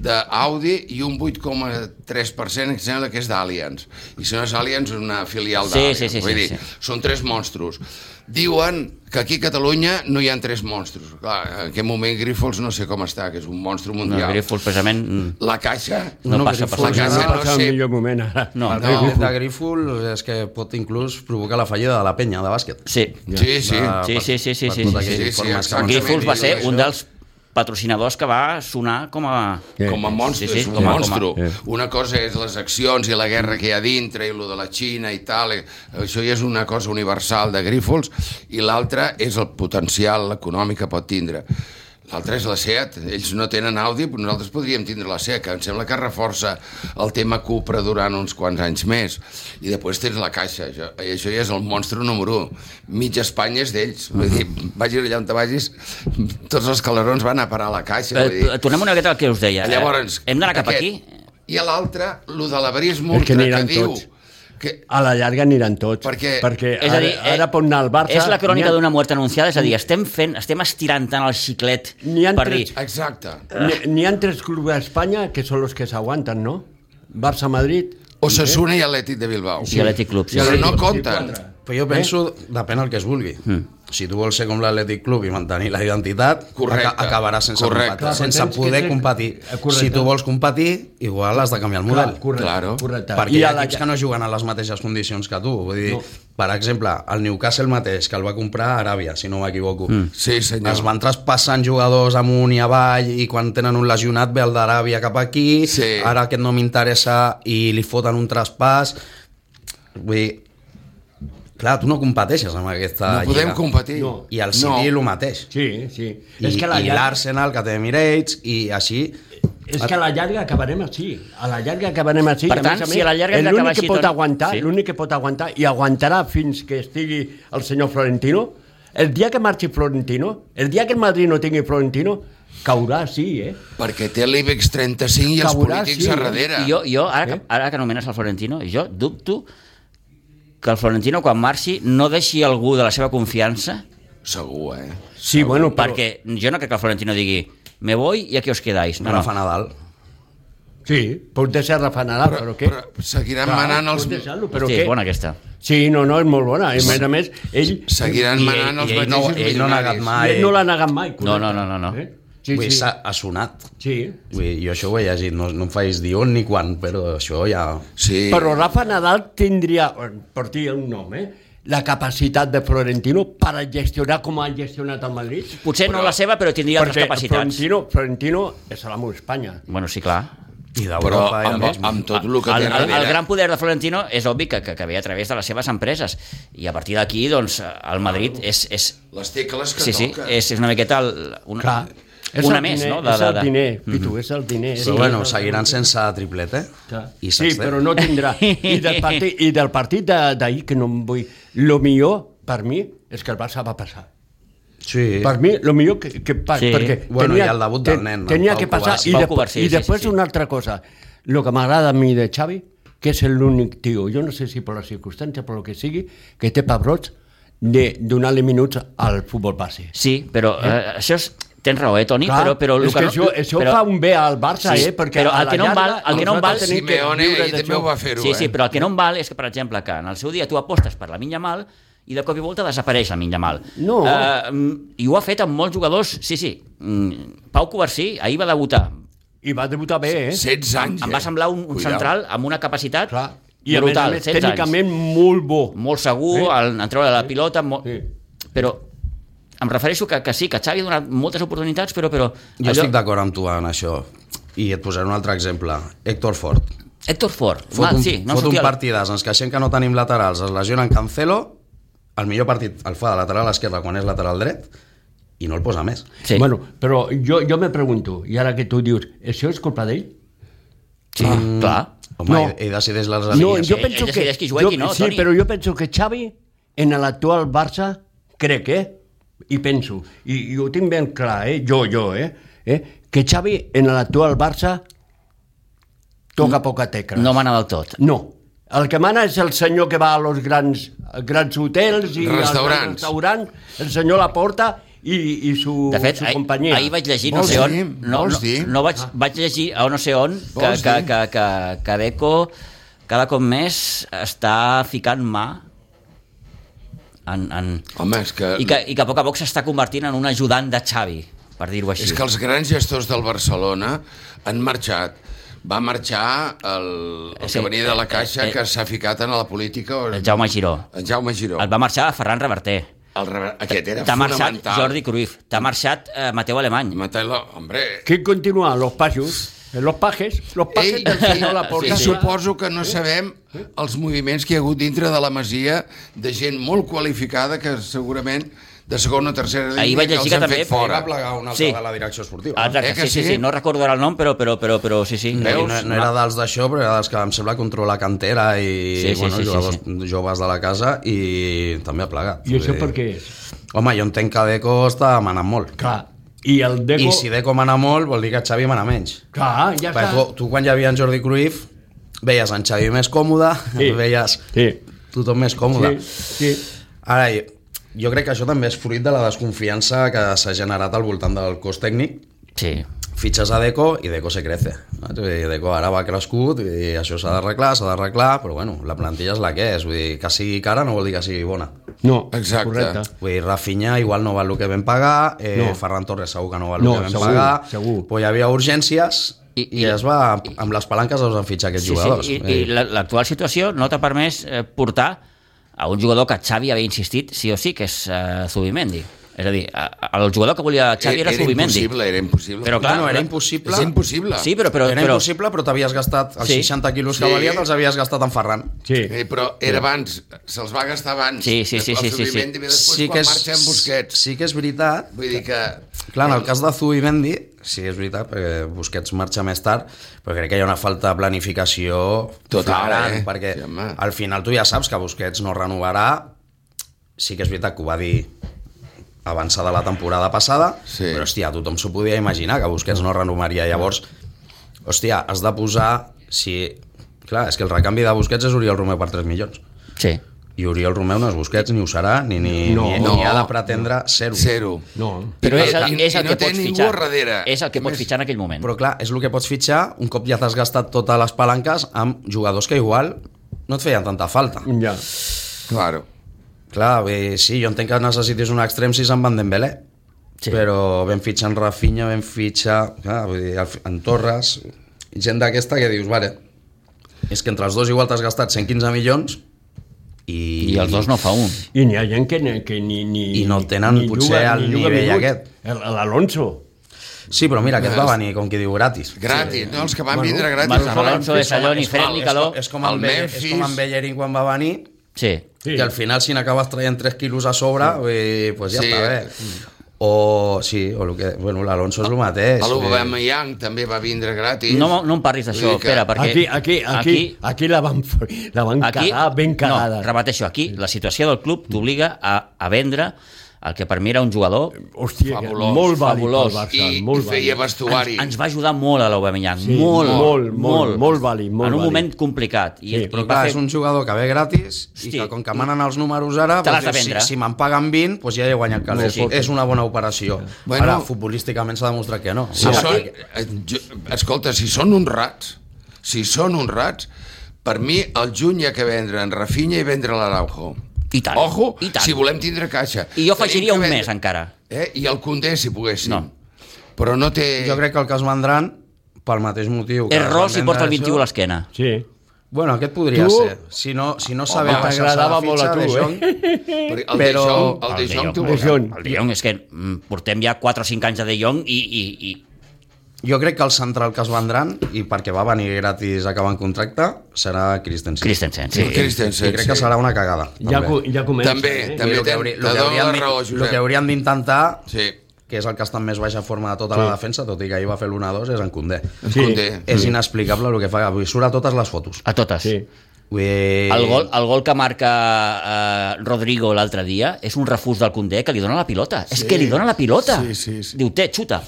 Speaker 2: d'Audi i un 8,3% em sembla que és d'Allianz. I si no és Allianz, és una filial
Speaker 1: Sí,
Speaker 2: d'Allianz.
Speaker 1: sí, sí,
Speaker 2: Vull
Speaker 1: sí,
Speaker 2: dir,
Speaker 1: sí.
Speaker 2: són tres monstros. Diuen que aquí a Catalunya no hi ha tres monstros. Clar, en aquest moment Grifols no sé com està, que és un monstre
Speaker 1: No,
Speaker 2: mundial.
Speaker 1: Grifols, precisament, mm,
Speaker 2: La caixa...
Speaker 1: no, no passa per la
Speaker 2: Grifols
Speaker 1: casa.
Speaker 2: casa,
Speaker 4: no,
Speaker 2: no
Speaker 4: passa
Speaker 2: sé.
Speaker 4: el millor moment ara.
Speaker 1: No,
Speaker 3: El
Speaker 2: no.
Speaker 3: no. de Grífol és que pot inclús provocar la fallida de la penya de bàsquet.
Speaker 1: Sí,
Speaker 2: Sí, sí.
Speaker 3: De-
Speaker 1: Sí, sí, sí, sí,
Speaker 3: per
Speaker 1: sí, sí,
Speaker 3: tots aquells
Speaker 2: sí, sí,
Speaker 3: informes que
Speaker 2: exacte.
Speaker 3: van-
Speaker 1: Grifols va ser
Speaker 2: Això.
Speaker 1: un dels patrocinadors que va sonar com a...
Speaker 4: Sí.
Speaker 2: com a monstre, Eh, sí, sí, és un com
Speaker 1: a-
Speaker 2: monstro.
Speaker 1: com
Speaker 2: Com a, eh. Una cosa és les accions i la guerra que hi ha dintre i lo de la Xina i tal, eh, això ja és una cosa universal de Grífols, i l'altra és el potencial econòmic que pot tindre. L'altre és la SEAT. Ells no tenen Audi, però nosaltres podríem tindre la SEAT, que em sembla que reforça el tema Cupra durant uns quants anys més. I després tens la Caixa. Això, i això ja és el monstre número 1. Mitja Espanya és d'ells. Vull dir, vagis allà on te vagis, tots els calarons van a parar a la Caixa. Vull dir.
Speaker 1: Eh, tornem una miqueta al que us deia. Eh,
Speaker 2: Llavors,
Speaker 1: Hem d'anar cap
Speaker 2: aquest.
Speaker 1: aquí?
Speaker 2: I a l'altre, lo de l'avarisme
Speaker 4: És que
Speaker 2: ultra que,
Speaker 4: aniran
Speaker 2: diu...
Speaker 4: tots.
Speaker 2: Que,
Speaker 4: A la llarga aniran tots.
Speaker 2: Perquè-
Speaker 4: perquè
Speaker 1: És a dir,
Speaker 4: Eh,
Speaker 1: eh,
Speaker 4: ara, ara pot anar al Barça...
Speaker 1: És la crònica
Speaker 4: n'hi ha-
Speaker 1: d'una mort anunciada, és a dir, estem fent, estem estirant tant el xiclet
Speaker 4: N'hi han
Speaker 1: per dir...
Speaker 4: tres-
Speaker 2: exacte.
Speaker 4: N'hi- N'hi ha tres clubs a Espanya que són els que s'aguanten, no? Barça-Madrid...
Speaker 2: Osasuna i Atlètic de Bilbao.
Speaker 1: Sí, Atlètic Club, sí.
Speaker 2: Però
Speaker 1: sí.
Speaker 2: no compten.
Speaker 3: Però jo penso, eh? depèn el que es vulgui. Mm. Si tu vols ser com l'Atlètic Club i mantenir la identitat,
Speaker 2: Correcte.
Speaker 3: aca- acabaràs sense,
Speaker 2: Correcte.
Speaker 3: competir,
Speaker 2: Clar,
Speaker 4: però
Speaker 3: sense
Speaker 4: tens que
Speaker 3: poder
Speaker 4: ser-
Speaker 3: competir.
Speaker 4: Eh, correcte.
Speaker 3: Si tu vols competir, igual has de canviar el model.
Speaker 4: correcte,
Speaker 2: Claro.
Speaker 4: correcte. I
Speaker 3: Perquè hi
Speaker 4: a
Speaker 3: ha
Speaker 4: la-
Speaker 3: equips que no juguen a les mateixes condicions que tu. Vull dir, per exemple, el Newcastle mateix, que el va comprar a Aràbia, si no m'equivoco.
Speaker 1: Mm.
Speaker 2: Sí, senyor.
Speaker 3: Es van traspassant jugadors amunt i avall i quan tenen un lesionat ve el d'Aràbia cap aquí,
Speaker 2: Sí.
Speaker 3: ara aquest no m'interessa i li foten un traspàs. Vull dir, clar, tu no competeixes amb aquesta
Speaker 2: No podem
Speaker 3: lliga.
Speaker 2: competir.
Speaker 4: No.
Speaker 3: I el City el mateix.
Speaker 4: Sí, sí.
Speaker 3: I
Speaker 4: és que a la llarga-
Speaker 3: l'Arsenal, que té Emirates, i així...
Speaker 4: És que a la llarga acabarem així. A la llarga acabarem així.
Speaker 1: Per
Speaker 4: i
Speaker 1: tant,
Speaker 4: més
Speaker 1: si a la llarga hem
Speaker 4: és
Speaker 1: d'acabar
Speaker 4: l'únic
Speaker 1: així,
Speaker 4: que pot
Speaker 1: Toni.
Speaker 4: aguantar,
Speaker 1: Sí.
Speaker 4: sí. l'únic que pot aguantar i aguantarà fins que estigui el senyor Florentino, el dia que marxi Florentino, el dia que el Madrid no tingui Florentino, caurà sí, eh?
Speaker 2: Perquè té l'IBEX 35 i els
Speaker 4: Caurà,
Speaker 2: polítics
Speaker 4: sí,
Speaker 2: a
Speaker 4: eh?
Speaker 2: darrere.
Speaker 1: I jo, jo ara, que, ara que anomenes el Florentino, jo dubto que el Florentino, quan marxi, no deixi algú de la seva confiança,
Speaker 2: Segur, eh?
Speaker 4: Sí, bueno, però...
Speaker 1: perquè jo no crec que el Florentino digui me voy i aquí os quedáis. No,
Speaker 3: No, Rafa
Speaker 1: no.
Speaker 3: Nadal.
Speaker 4: Sí, pot ser Rafa Nadal, però,
Speaker 2: Però,
Speaker 4: què?
Speaker 2: però seguiran
Speaker 4: Clar,
Speaker 2: manant els...
Speaker 4: pot deixar-lo, però
Speaker 1: Hosti,
Speaker 4: què?
Speaker 1: és bona aquesta.
Speaker 4: Sí, no, no, és molt bona. I, a més a més, ell...
Speaker 2: Seguiran
Speaker 1: I-
Speaker 2: manant
Speaker 1: i
Speaker 2: els
Speaker 1: ell
Speaker 2: mateixos
Speaker 1: no-
Speaker 3: ell no ha negat
Speaker 2: milionaris.
Speaker 3: mai.
Speaker 4: ell no l'ha negat mai,
Speaker 1: No, no, no, no, no.
Speaker 4: Eh?
Speaker 3: Sí,
Speaker 4: Sí,
Speaker 3: Vull dir,
Speaker 4: sí.
Speaker 3: s'ha- ha sonat.
Speaker 4: sí.
Speaker 3: Vull dir, jo això ho he llegit, no, no em faig dir on ni quan, però això ja...
Speaker 2: Sí.
Speaker 4: Però Rafa Nadal tindria, per dir un nom, eh? la capacitat de Florentino per gestionar com ha gestionat el Madrid.
Speaker 1: Potser no la seva, però tindria altres capacitats.
Speaker 4: Florentino, Florentino és l'amo d'Espanya.
Speaker 1: Bueno, sí, clar.
Speaker 3: I
Speaker 2: Però
Speaker 3: d'Europa i
Speaker 2: amb,
Speaker 3: amb,
Speaker 2: amb tot el que
Speaker 1: Ah, El,
Speaker 2: té
Speaker 1: el,
Speaker 2: darrere...
Speaker 1: el gran poder de Florentino és obvi que, que, que ve a través de les seves empreses i a partir d'aquí doncs, el Madrid és, és,
Speaker 2: Les tecles que
Speaker 1: sí, sí,
Speaker 2: toquen.
Speaker 1: és, és una miqueta el, una,
Speaker 4: Clar. És
Speaker 1: una
Speaker 4: el
Speaker 1: més,
Speaker 4: diner,
Speaker 1: no? De, Mhm.
Speaker 4: és
Speaker 1: de,
Speaker 4: el
Speaker 1: de...
Speaker 4: diner, Pitu, és el diner. eh?
Speaker 3: Però
Speaker 4: Sí.
Speaker 3: bueno, seguiran sense triplet, eh?
Speaker 4: Clar. Sí,
Speaker 3: I sextet.
Speaker 4: però no tindrà. I del partit, i del partit de- d'ahir, que no em vull... Lo millor, per mi, és que el Barça va passar.
Speaker 3: Sí.
Speaker 4: Per mi, el millor que, que pas,
Speaker 1: Sí.
Speaker 4: sí. perquè
Speaker 3: Bueno, i el debut del nen, el
Speaker 4: tenia
Speaker 3: Pau
Speaker 4: que passar
Speaker 3: Covarsí.
Speaker 4: i,
Speaker 1: Pau
Speaker 4: de,
Speaker 1: Covarsí,
Speaker 4: i
Speaker 1: sí,
Speaker 4: després
Speaker 1: sí, sí.
Speaker 4: una altra cosa el que m'agrada a mi de Xavi que és l'únic tio, jo no sé si per les circumstàncies per el que sigui, que té pebrots de donar-li minuts al futbol base
Speaker 1: Sí, però eh? això és... Tens raó, eh, Toni? però, però, el
Speaker 4: és que això, això però, fa un bé al Barça
Speaker 1: Sí,
Speaker 4: eh, perquè
Speaker 1: però
Speaker 4: a
Speaker 1: el
Speaker 4: la
Speaker 1: que no em val-
Speaker 4: llarga
Speaker 1: el que no em val-
Speaker 4: nosaltres tenim que
Speaker 2: Simeone,
Speaker 4: viure
Speaker 2: ell
Speaker 4: d'això.
Speaker 2: també ho va fer-ho,
Speaker 1: Sí, sí,
Speaker 2: eh?
Speaker 1: però el que no em val és que, per exemple, que en el seu dia tu apostes per la minya mal i de cop i volta desapareix la minya mal.
Speaker 4: No.
Speaker 1: Eh, mm, I ho ha fet amb molts jugadors, sí, sí. Mm, Pau Covarsí ahir va debutar.
Speaker 4: i va debutar bé eh?
Speaker 2: 16 anys.
Speaker 1: Em va
Speaker 2: eh?
Speaker 1: semblar un, un
Speaker 2: Cuidao.
Speaker 1: central amb una capacitat
Speaker 4: Clar. i a més, a
Speaker 1: brutal,
Speaker 4: més
Speaker 1: 16 anys.
Speaker 4: tècnicament molt bo
Speaker 1: molt segur
Speaker 4: Sí.
Speaker 1: al, en treure la pilota molt...
Speaker 4: Sí.
Speaker 1: però em refereixo que, que sí, que Xavi ha donat moltes oportunitats però, però
Speaker 3: Jo estic d'acord amb tu en això. I et posaré un altre exemple. Héctor Ford.
Speaker 1: Héctor Ford,
Speaker 3: Fot
Speaker 1: Val,
Speaker 3: un,
Speaker 1: Ah, sí, no
Speaker 3: fot un
Speaker 1: sortia... la-
Speaker 3: partidàs, ens queixem que no tenim laterals, es lesionen Cancelo, el millor partit el fa de lateral esquerre quan és lateral dret, i no el posa més.
Speaker 1: Sí.
Speaker 4: Bueno, però jo, jo me pregunto, i ara que tu dius, això és culpa d'ell?
Speaker 1: sí,
Speaker 3: ah.
Speaker 1: clar
Speaker 3: Mm. Home,
Speaker 4: No.
Speaker 3: no. ell, ell decideix les
Speaker 4: No,
Speaker 3: alineacions.
Speaker 4: jo
Speaker 1: ell
Speaker 4: penso que...
Speaker 1: decideix qui jugui,
Speaker 4: jo-
Speaker 1: qui no,
Speaker 4: sí,
Speaker 1: Toni.
Speaker 4: però jo penso que Xavi, en l'actual Barça, crec, eh? I penso, i, i ho tinc ben clar, eh? Jo, jo, eh? eh? Que Xavi, en l'actual Barça, toca poca tecla.
Speaker 1: no mana del tot
Speaker 4: No. El que mana és el senyor que va a los grans, grans hotels i als
Speaker 2: Restaurants.
Speaker 4: restaurants, el senyor la porta i, i su,
Speaker 1: de fet,
Speaker 4: su
Speaker 1: ahir,
Speaker 4: companyia.
Speaker 1: ahir vaig llegir no
Speaker 2: Vols
Speaker 1: sé on,
Speaker 2: dir?
Speaker 1: no,
Speaker 2: Vols
Speaker 1: no,
Speaker 2: dir?
Speaker 1: no vaig, vaig llegir a no sé on que,
Speaker 2: Vols
Speaker 1: que,
Speaker 2: dir?
Speaker 1: que, que, que Deco cada cop més està ficant mà en, en...
Speaker 2: Home, és que...
Speaker 1: I, que, i que a poc a poc s'està convertint en un ajudant de Xavi per dir-ho així
Speaker 2: És que els grans gestors del Barcelona han marxat. Va marxar el, el
Speaker 1: Sí,
Speaker 2: que venia de
Speaker 1: eh,
Speaker 2: la Caixa,
Speaker 1: eh,
Speaker 2: que s'ha ficat en la política... O...
Speaker 1: el Jaume Giró
Speaker 2: En Jaume Giró.
Speaker 1: et va marxar Ferran Reverter
Speaker 2: El, rever- aquest era
Speaker 1: T'ha marxat
Speaker 2: fonamental.
Speaker 1: Jordi Cruyff, t'ha marxat eh, Mateu Alemany.
Speaker 2: Mateu, hombre...
Speaker 4: Qui continua? Los pajos. Los pajes. Los pajes
Speaker 2: Ell,
Speaker 4: del senyor Laporta.
Speaker 2: que suposo que no sabem els moviments que hi ha hagut dintre de la masia de gent molt qualificada que segurament de segona o tercera línia
Speaker 1: Ahir vaig llegir
Speaker 2: els
Speaker 1: que
Speaker 2: han
Speaker 1: també-
Speaker 2: fet
Speaker 1: Ahir
Speaker 2: fora.
Speaker 3: Va plegar un altre
Speaker 1: Sí. Ah,
Speaker 3: sí. de la direcció esportiva.
Speaker 1: Exacte,
Speaker 2: Eh que
Speaker 1: sí, sí,
Speaker 2: sí?
Speaker 1: sí, no recordo ara el nom, però, però, però, però sí, sí.
Speaker 3: No,
Speaker 2: Veus?
Speaker 3: no, no era dels d'això, però era dels que em sembla controlar cantera i
Speaker 1: Ah. Sí, sí,
Speaker 3: bueno,
Speaker 1: sí, sí,
Speaker 3: jugadors
Speaker 1: sí.
Speaker 3: joves de la casa i també ha plegat.
Speaker 4: I això
Speaker 3: Vull dir-
Speaker 4: per què és?
Speaker 3: Home, jo entenc que Deco està manant molt.
Speaker 4: Clar, i el Deco...
Speaker 3: I si Deco mana molt, vol dir que Xavi mana menys.
Speaker 4: Clar, ja
Speaker 3: Perquè tu, tu quan hi havia en Jordi Cruyff, veies en Xavi més còmode,
Speaker 4: Sí.
Speaker 3: sí. veies
Speaker 4: Sí,
Speaker 3: tothom més còmode.
Speaker 4: sí, sí.
Speaker 3: Ara, jo, jo crec que això també és fruit de la desconfiança que s'ha generat al voltant del cos tècnic.
Speaker 1: Sí.
Speaker 3: Fitxes a Deco i Deco se crece. saps? Vull dir, Deco ara va crescut i això s'ha d'arreglar, s'ha d'arreglar, però bueno, la plantilla és la que és. Vull dir, que sigui cara no vol dir que sigui bona.
Speaker 4: No,
Speaker 2: Exacte.
Speaker 4: correcte.
Speaker 3: Vull dir, Rafinha igual no val el que vam pagar, eh,
Speaker 4: No.
Speaker 3: no. Ferran Torres segur que no val el
Speaker 4: No,
Speaker 3: que vam
Speaker 4: segur,
Speaker 3: pagar,
Speaker 4: segur.
Speaker 3: però hi havia urgències
Speaker 1: I-
Speaker 3: i,
Speaker 1: i-
Speaker 3: i, es va, amb les palanques els van fitxar aquests
Speaker 1: sí,
Speaker 3: jugadors.
Speaker 1: sí. I,
Speaker 3: Eh, Vull
Speaker 1: i
Speaker 3: dir,
Speaker 1: la- l'actual situació no t'ha permès eh, portar a un jugador que Xavi havia insistit sí o sí, que és eh, Zubimendi. És a dir, a, a- el jugador que volia Xavi era, Zubimendi.
Speaker 2: impossible, E- era impossible.
Speaker 1: Però clar,
Speaker 3: Bueno, era
Speaker 1: la-
Speaker 3: impossible.
Speaker 2: És impossible.
Speaker 1: Sí, però, però,
Speaker 3: era
Speaker 1: però
Speaker 3: impossible, però t'havies gastat els
Speaker 1: Sí.
Speaker 3: 60 quilos que
Speaker 2: Sí.
Speaker 3: valia, te'ls havies gastat en Ferran.
Speaker 4: Sí.
Speaker 2: Eh, però era abans, se'ls va gastar abans.
Speaker 1: Sí, sí, sí,
Speaker 2: El
Speaker 1: sí, sí, sí.
Speaker 2: Zubimendi ve Després, sí
Speaker 3: que
Speaker 2: quan és... marxa en Busquets.
Speaker 3: Sí que és veritat
Speaker 2: Vull dir que...
Speaker 3: Clar,
Speaker 2: Eh,
Speaker 3: en el cas de Zubimendi, sí, és veritat, perquè Busquets marxa més tard, però crec que hi ha una falta de planificació
Speaker 2: Total, eh?
Speaker 3: perquè
Speaker 2: Sí,
Speaker 3: sí,
Speaker 2: home.
Speaker 3: al final tu ja saps que Busquets no renovarà, sí que és veritat que ho va dir avançada la temporada passada,
Speaker 2: Sí.
Speaker 3: però hòstia, tothom s'ho podia imaginar que Busquets no renovaria, llavors hòstia, has de posar si... Clar, és que el recanvi de Busquets és Oriol Romeu per 3 milions.
Speaker 1: Sí.
Speaker 3: I Oriol Romeu no és Busquets, ni ho serà, ni, ni,
Speaker 4: No.
Speaker 3: ni, ni
Speaker 2: No.
Speaker 3: ha de pretendre ser-ho.
Speaker 2: Zero.
Speaker 4: No.
Speaker 1: Però és el,
Speaker 2: I-
Speaker 1: és el
Speaker 2: i
Speaker 1: que
Speaker 2: no té
Speaker 1: pots
Speaker 2: ningú
Speaker 1: fitxar.
Speaker 2: a darrere.
Speaker 1: És el que pots fitxar en aquell moment.
Speaker 3: Però clar, és el que pots fitxar un cop ja t'has gastat totes les palanques amb jugadors que igual no et feien tanta falta.
Speaker 1: Mm.
Speaker 4: Ja.
Speaker 2: Claro.
Speaker 3: Clar, bé, sí, jo entenc que necessitis un extrem si se'n van Dembélé.
Speaker 1: Sí.
Speaker 3: Sí. Però ben fitxar en Rafinha, ben fitxar clar, vull dir, al fi- en Torres, gent d'aquesta que dius, vale, és que entre els dos igual t'has gastat 115 milions
Speaker 1: I
Speaker 3: i...
Speaker 1: els dos no fa un.
Speaker 4: I n'hi ha gent que, ni- que ni, ni...
Speaker 3: I no el tenen potser al nivell
Speaker 4: minuts.
Speaker 3: aquest.
Speaker 4: El- L'Alonso.
Speaker 3: Sí, però mira, aquest va venir, com qui diu, gratis.
Speaker 2: Gratis, no? Els que van
Speaker 4: Bueno,
Speaker 2: vindre
Speaker 1: Mas
Speaker 2: gratis. els van
Speaker 1: Alonso
Speaker 2: fer
Speaker 1: és allò ni fred ni
Speaker 3: És,
Speaker 1: calor.
Speaker 3: com- és, com
Speaker 2: El
Speaker 3: el, Beller- és
Speaker 2: Memphis.
Speaker 3: com en Bellerín quan va venir,
Speaker 1: Sí.
Speaker 4: Sí.
Speaker 3: Sí. I al final, si n'acabes traient 3 quilos a sobre, sí. pues ja
Speaker 2: Sí.
Speaker 3: sí. està
Speaker 1: eh.
Speaker 3: bé. O sí, o el que... Bueno, l'Alonso és el mateix.
Speaker 2: A
Speaker 3: vull dir.
Speaker 2: l'Obameyang també va vindre gratis.
Speaker 1: No, no em parlis d'això,
Speaker 2: Vull dir que-
Speaker 1: Pere, perquè...
Speaker 4: Aquí, aquí, aquí, aquí la van, la van aquí, cagar ben
Speaker 1: No,
Speaker 4: cagada.
Speaker 1: repeteixo, aquí la situació del club t'obliga a, a vendre el que per mi era un jugador
Speaker 4: Hòstia, que
Speaker 2: Fabulós,
Speaker 4: molt vàlid pel
Speaker 1: fabulós.
Speaker 4: Barça.
Speaker 2: I, i
Speaker 4: molt
Speaker 2: feia
Speaker 4: vàlid.
Speaker 2: vestuari.
Speaker 1: ens va ajudar molt a l'Aubameyang,
Speaker 4: Sí,
Speaker 1: molt,
Speaker 4: molt, molt, molt vàlid, molt
Speaker 1: en un
Speaker 4: vàlid.
Speaker 1: moment complicat. I,
Speaker 4: Sí,
Speaker 1: sí,
Speaker 4: però
Speaker 1: i va
Speaker 3: Clar,
Speaker 1: fer...
Speaker 3: és un jugador que ve gratis
Speaker 1: Hosti.
Speaker 3: i que com que manen els números ara
Speaker 1: Te l'has de
Speaker 3: dius,
Speaker 1: vendre.
Speaker 3: si, si me'n paguen 20 doncs ja he guanyat calés,
Speaker 1: Sí, sí.
Speaker 3: és una bona operació
Speaker 2: Bueno.
Speaker 3: bueno, ara futbolísticament s'ha demostrat que no
Speaker 2: Si
Speaker 3: Ara,
Speaker 2: són, eh, jo, escolta, si són honrats, si són honrats, per mi el juny hi ha que vendre en Rafinha i vendre l'Araujo.
Speaker 1: I tant,
Speaker 2: Ojo,
Speaker 1: i tant.
Speaker 2: si volem tindre caixa.
Speaker 1: I jo afegiria
Speaker 2: Tenim
Speaker 1: un
Speaker 2: que
Speaker 1: mes
Speaker 2: vendre-
Speaker 1: encara.
Speaker 2: Eh? I el Condé, si poguéssim.
Speaker 1: No.
Speaker 2: Però no té...
Speaker 3: jo crec que el que es vendran pel mateix motiu que
Speaker 1: És ros
Speaker 3: van
Speaker 1: i porta el
Speaker 3: vendre
Speaker 1: 21 a
Speaker 3: això-
Speaker 1: l'esquena.
Speaker 4: Sí.
Speaker 3: bueno, aquest podria
Speaker 4: Tu?
Speaker 3: ser si no, si no sabem passar-se la
Speaker 4: t'agradava molt a
Speaker 3: fitxa de
Speaker 4: tu, eh?
Speaker 3: Jong,
Speaker 2: Però el
Speaker 3: però-
Speaker 2: De Jong, el De Jong,
Speaker 4: De
Speaker 2: té un-
Speaker 4: Jong.
Speaker 1: El De Jong és que mm, portem ja 4 o 5 anys a De Jong i, i, i
Speaker 3: Jo crec que el central que es vendran, i perquè va venir gratis acabant contracte, serà Christensen.
Speaker 1: Christensen. Sí.
Speaker 2: Christensen,
Speaker 3: I crec que
Speaker 2: sí.
Speaker 3: serà una cagada.
Speaker 4: Ja,
Speaker 3: també.
Speaker 4: co- ja comença.
Speaker 2: També,
Speaker 4: eh?
Speaker 2: també.
Speaker 3: Vull dir, el
Speaker 2: Te-
Speaker 3: que, hauri-
Speaker 2: te
Speaker 3: el que
Speaker 2: dono la
Speaker 3: haurien,
Speaker 2: raó,
Speaker 3: d'in-
Speaker 2: Josep.
Speaker 3: el que haurien d'intentar,
Speaker 2: Sí,
Speaker 3: que és el que està en més baixa forma de tota la defensa, tot i que ahir va fer l'1-2, és en Condé.
Speaker 2: en
Speaker 4: Sí.
Speaker 2: Condé.
Speaker 3: És inexplicable el que fa. Avui surt a totes les fotos.
Speaker 1: A totes.
Speaker 4: Sí.
Speaker 3: Vull dir,
Speaker 1: El gol, el gol que marca eh, Rodrigo l'altre dia és un refús del Condé que li dona la pilota. Sí. És que li dona la pilota.
Speaker 2: Sí, sí, sí.
Speaker 1: Diu, té, xuta.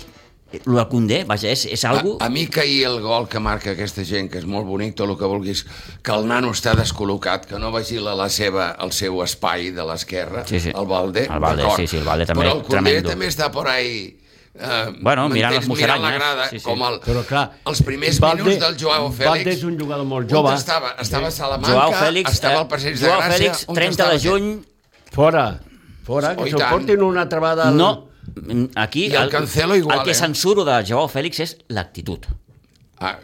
Speaker 1: Eh, El Condé, vaja, és, és algo...
Speaker 2: A, a mi que ahir el gol que marca aquesta gent, que és molt bonic, tot el que vulguis, que el nano està descol·locat, que no vagila la seva, el seu espai de l'esquerra,
Speaker 1: Sí, sí.
Speaker 2: el Valde,
Speaker 1: El Valde,
Speaker 2: d'acord.
Speaker 1: sí, sí, el Valde també,
Speaker 2: Però el Condé
Speaker 1: tremendo.
Speaker 2: també està por ahí... Eh,
Speaker 1: Bueno, mirant
Speaker 2: m'entens?
Speaker 1: les
Speaker 2: mirant la
Speaker 1: musaranyes,
Speaker 2: grada,
Speaker 1: sí, sí.
Speaker 2: com el,
Speaker 4: Però clar...
Speaker 2: els primers
Speaker 4: Valde-
Speaker 2: minuts del Joao Fèlix.
Speaker 4: Valde és un jugador
Speaker 2: On
Speaker 4: molt jove.
Speaker 2: estava? Estava a Salamanca,
Speaker 1: Joao Fèlix,
Speaker 2: estava al
Speaker 1: eh,
Speaker 2: passeig de
Speaker 1: Joao
Speaker 2: Gràcia...
Speaker 1: Fèlix,
Speaker 2: on
Speaker 1: 30
Speaker 2: estava
Speaker 1: de
Speaker 2: aquest?
Speaker 1: juny,
Speaker 4: Fora. Fora,
Speaker 2: Oh,
Speaker 4: que
Speaker 2: i
Speaker 4: se'l
Speaker 2: tant.
Speaker 4: portin una altra vegada... al-
Speaker 1: no... mm, Aquí,
Speaker 2: I el Cancelo igual,
Speaker 1: el que
Speaker 2: eh?
Speaker 1: censuro de Joao Fèlix és l'actitud.
Speaker 2: Ah,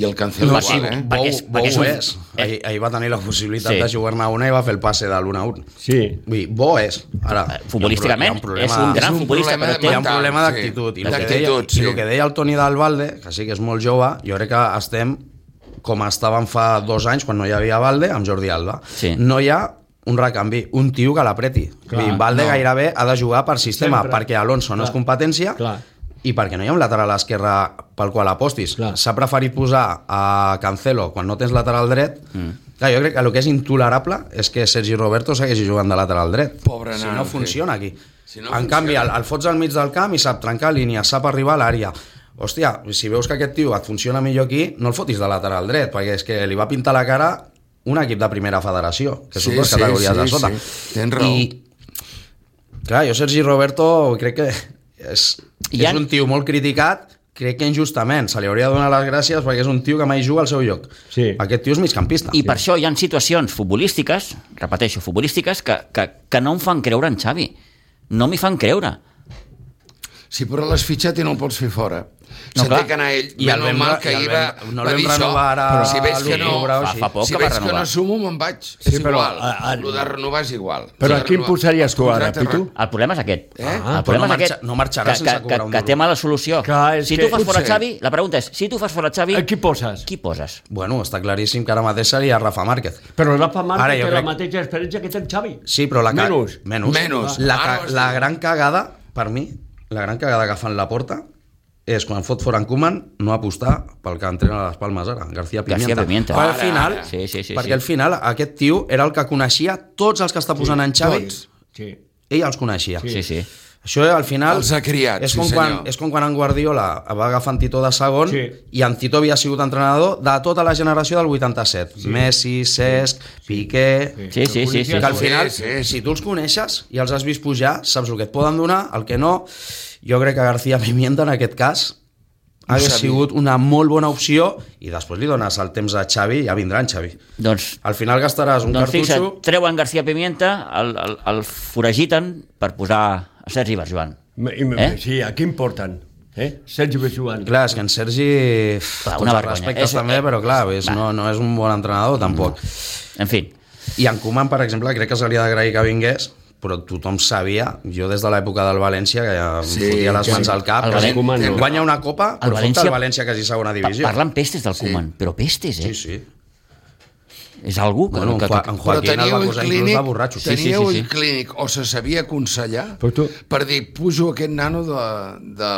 Speaker 2: I el Cancelo
Speaker 1: Passiu.
Speaker 2: igual, eh?
Speaker 1: perquè
Speaker 3: Bou,
Speaker 1: és- perquè
Speaker 3: Bou
Speaker 1: és un-
Speaker 3: és. Eh. Ahir, ahir va tenir la possibilitat
Speaker 1: Sí.
Speaker 3: de jugar-ne una i va fer el passe de l'1-1.
Speaker 4: Sí.
Speaker 3: Vull dir, bo és. Ara,
Speaker 1: Eh, futbolísticament,
Speaker 3: hi ha un problema-
Speaker 1: és un gran
Speaker 2: És un
Speaker 1: futbolista,
Speaker 2: problema
Speaker 1: però té...
Speaker 2: de
Speaker 3: Hi ha un
Speaker 2: mental,
Speaker 3: problema
Speaker 2: sí.
Speaker 3: d'actitud. I, el que deia,
Speaker 2: D'actitud, sí.
Speaker 3: I el que deia el Toni d'Albalde, que sí que és molt jove, jo crec que estem com estàvem fa dos anys, quan no hi havia Valde, amb Jordi Alba.
Speaker 1: Sí.
Speaker 3: No hi ha un recanvi, un tio que l'apreti.
Speaker 4: Clar,
Speaker 3: Valde
Speaker 4: no.
Speaker 3: no. gairebé ha de jugar per sistema,
Speaker 4: Sempre.
Speaker 3: Sempre. perquè Alonso no
Speaker 4: Clar,
Speaker 3: és competència
Speaker 4: clar.
Speaker 3: i perquè no hi ha un lateral esquerre pel qual apostis.
Speaker 4: Clar.
Speaker 3: S'ha preferit posar a Cancelo quan no tens lateral dret. Mm. Clar, jo crec que el que és intolerable és que Sergi Roberto segueixi jugant de lateral dret.
Speaker 2: Pobre
Speaker 3: si
Speaker 2: nano,
Speaker 3: no
Speaker 2: sí.
Speaker 3: funciona aquí.
Speaker 2: Si
Speaker 3: Si
Speaker 2: no
Speaker 3: no en
Speaker 2: funciona.
Speaker 3: canvi, el, el fots al mig del camp i sap trencar línia, sap arribar a l'àrea. Hòstia, si veus que aquest tio et funciona millor aquí, no el fotis de lateral dret, perquè és que li va pintar la cara un equip de primera federació, que són
Speaker 2: Sí,
Speaker 3: dues
Speaker 2: sí,
Speaker 3: categories
Speaker 2: sí,
Speaker 3: de sota.
Speaker 2: sí. Tens raó.
Speaker 3: I, clar, jo Sergi Roberto crec que és,
Speaker 1: I
Speaker 3: és
Speaker 1: han-
Speaker 3: un tio molt criticat, crec que injustament, se li hauria de donar les gràcies perquè és un tio que mai juga al seu lloc.
Speaker 4: Sí.
Speaker 3: Aquest tio és migcampista.
Speaker 1: I per això hi ha situacions futbolístiques, repeteixo, futbolístiques, que, que, que no em fan creure en Xavi. No m'hi fan creure.
Speaker 2: Sí, però l'has fitxat i no el pots fer fora. No,
Speaker 1: No,
Speaker 2: Se
Speaker 1: clar.
Speaker 2: té que anar ell.
Speaker 3: I
Speaker 2: Bé,
Speaker 3: el vam
Speaker 2: normal
Speaker 3: re-
Speaker 2: que
Speaker 3: i el
Speaker 2: ahir va,
Speaker 3: vam- no el
Speaker 2: va
Speaker 3: vam
Speaker 2: dir això.
Speaker 3: renovar ara
Speaker 2: Però si veig que no,
Speaker 3: l'octubre o
Speaker 1: fa-
Speaker 3: així.
Speaker 1: fa poc
Speaker 2: si
Speaker 1: que va
Speaker 2: veig que no
Speaker 1: renovar.
Speaker 2: sumo, me'n vaig.
Speaker 4: Sí,
Speaker 2: és
Speaker 4: però,
Speaker 2: igual.
Speaker 4: a- a-
Speaker 2: Lo de renovar és igual.
Speaker 4: Però
Speaker 2: Lo
Speaker 4: a
Speaker 2: de
Speaker 4: quin
Speaker 2: renovar-
Speaker 4: posaries tu
Speaker 2: el
Speaker 4: ara,
Speaker 2: contracte
Speaker 4: Pitu?
Speaker 1: El problema és aquest.
Speaker 2: Eh? Ah,
Speaker 1: el problema
Speaker 3: però no
Speaker 1: és aquest.
Speaker 3: marxa- no marxarà
Speaker 1: que,
Speaker 3: sense
Speaker 1: que,
Speaker 3: cobrar
Speaker 1: que,
Speaker 3: un
Speaker 1: que
Speaker 3: duro.
Speaker 1: té mala solució.
Speaker 4: Clar, és
Speaker 1: si
Speaker 4: que
Speaker 1: tu fas fora
Speaker 2: potser-
Speaker 1: Xavi, la pregunta és, si tu fas fora Xavi,
Speaker 4: A qui poses?
Speaker 1: qui poses?
Speaker 3: Bueno, està claríssim que ara mateix seria Rafa Márquez.
Speaker 4: Però Rafa Márquez
Speaker 3: Ara
Speaker 4: té
Speaker 3: jo
Speaker 4: crec... la
Speaker 3: crec-
Speaker 4: mateixa experiència que té el Xavi.
Speaker 3: Sí, però la ca-
Speaker 4: Menys.
Speaker 3: Menys.
Speaker 2: Menys.
Speaker 3: La, ca-
Speaker 2: Ara ho estic.
Speaker 3: la gran cagada, per mi, la gran cagada que fan la porta és quan fot fora en Koeman no apostar pel que entrena a les Palmes ara, García Pimienta.
Speaker 1: García Pimienta.
Speaker 3: Però al
Speaker 2: Ara,
Speaker 3: final,
Speaker 2: ara.
Speaker 1: Sí, sí, sí,
Speaker 3: Ah. perquè
Speaker 1: sí.
Speaker 3: al final aquest tio era el que coneixia tots els que està posant en Xavi.
Speaker 2: tots.
Speaker 4: Sí.
Speaker 3: Ell els coneixia.
Speaker 1: Sí, sí.
Speaker 3: Això eh, al final...
Speaker 2: Els ha criat,
Speaker 3: és
Speaker 2: sí,
Speaker 3: com
Speaker 2: senyor.
Speaker 3: quan, És com quan en Guardiola va agafar en Tito de segon
Speaker 4: Sí.
Speaker 3: sí. i en Tito havia sigut entrenador de tota la generació del 87. Sí. Messi, Cesc, Piqué...
Speaker 4: Sí.
Speaker 1: Sí, sí, sí. sí,
Speaker 3: Que al
Speaker 1: sí.
Speaker 3: final,
Speaker 2: Sí,
Speaker 3: sí,
Speaker 2: sí.
Speaker 3: sí. si tu els coneixes i els has vist pujar, saps el que et poden donar, el que no. Jo crec que García Pimienta, en aquest cas,
Speaker 2: Ho
Speaker 3: ha
Speaker 2: sabia.
Speaker 3: sigut una molt bona opció i després li dones el temps a Xavi i ja vindrà en Xavi.
Speaker 1: Doncs
Speaker 3: Al final gastaràs un
Speaker 1: Doncs
Speaker 3: cartutxo...
Speaker 1: fixa't, treuen García Pimienta, el, el, el foragiten per posar a Sergi Barjuan.
Speaker 4: Me- i me-
Speaker 1: Eh?
Speaker 4: Sí, a qui em porten? Eh? Sergi Bejuan.
Speaker 3: Clar, és que en Sergi...
Speaker 1: Clar,
Speaker 3: Clar,
Speaker 1: una
Speaker 3: una
Speaker 1: vergonya.
Speaker 3: respectes
Speaker 1: És- eh,
Speaker 3: és, també, però clar, és, no, no és un bon entrenador, tampoc.
Speaker 1: En fi,
Speaker 3: I en Koeman, per exemple, crec que se li ha d'agrair que vingués, però tothom sabia, jo des de l'època del València, que ja em
Speaker 2: Sí,
Speaker 3: fotia les
Speaker 2: que-
Speaker 3: mans al cap,
Speaker 1: El
Speaker 3: que
Speaker 1: Valen-
Speaker 4: Koeman no.
Speaker 3: guanya una copa, però
Speaker 1: València-
Speaker 3: fot el València quasi segona
Speaker 1: pa
Speaker 3: divisió.
Speaker 1: parlen pestes del sí. Koeman, però pestes, eh?
Speaker 3: Sí, sí.
Speaker 1: És algú que...
Speaker 3: Bueno, en,
Speaker 1: que,
Speaker 3: Joa, en
Speaker 1: que,
Speaker 3: Joaquín el va posar inclús de borratxo.
Speaker 1: sí,
Speaker 2: teníeu
Speaker 1: sí, sí.
Speaker 2: un clínic o se sabia aconsellar
Speaker 4: Però tu-
Speaker 2: per dir, pujo aquest nano de, de,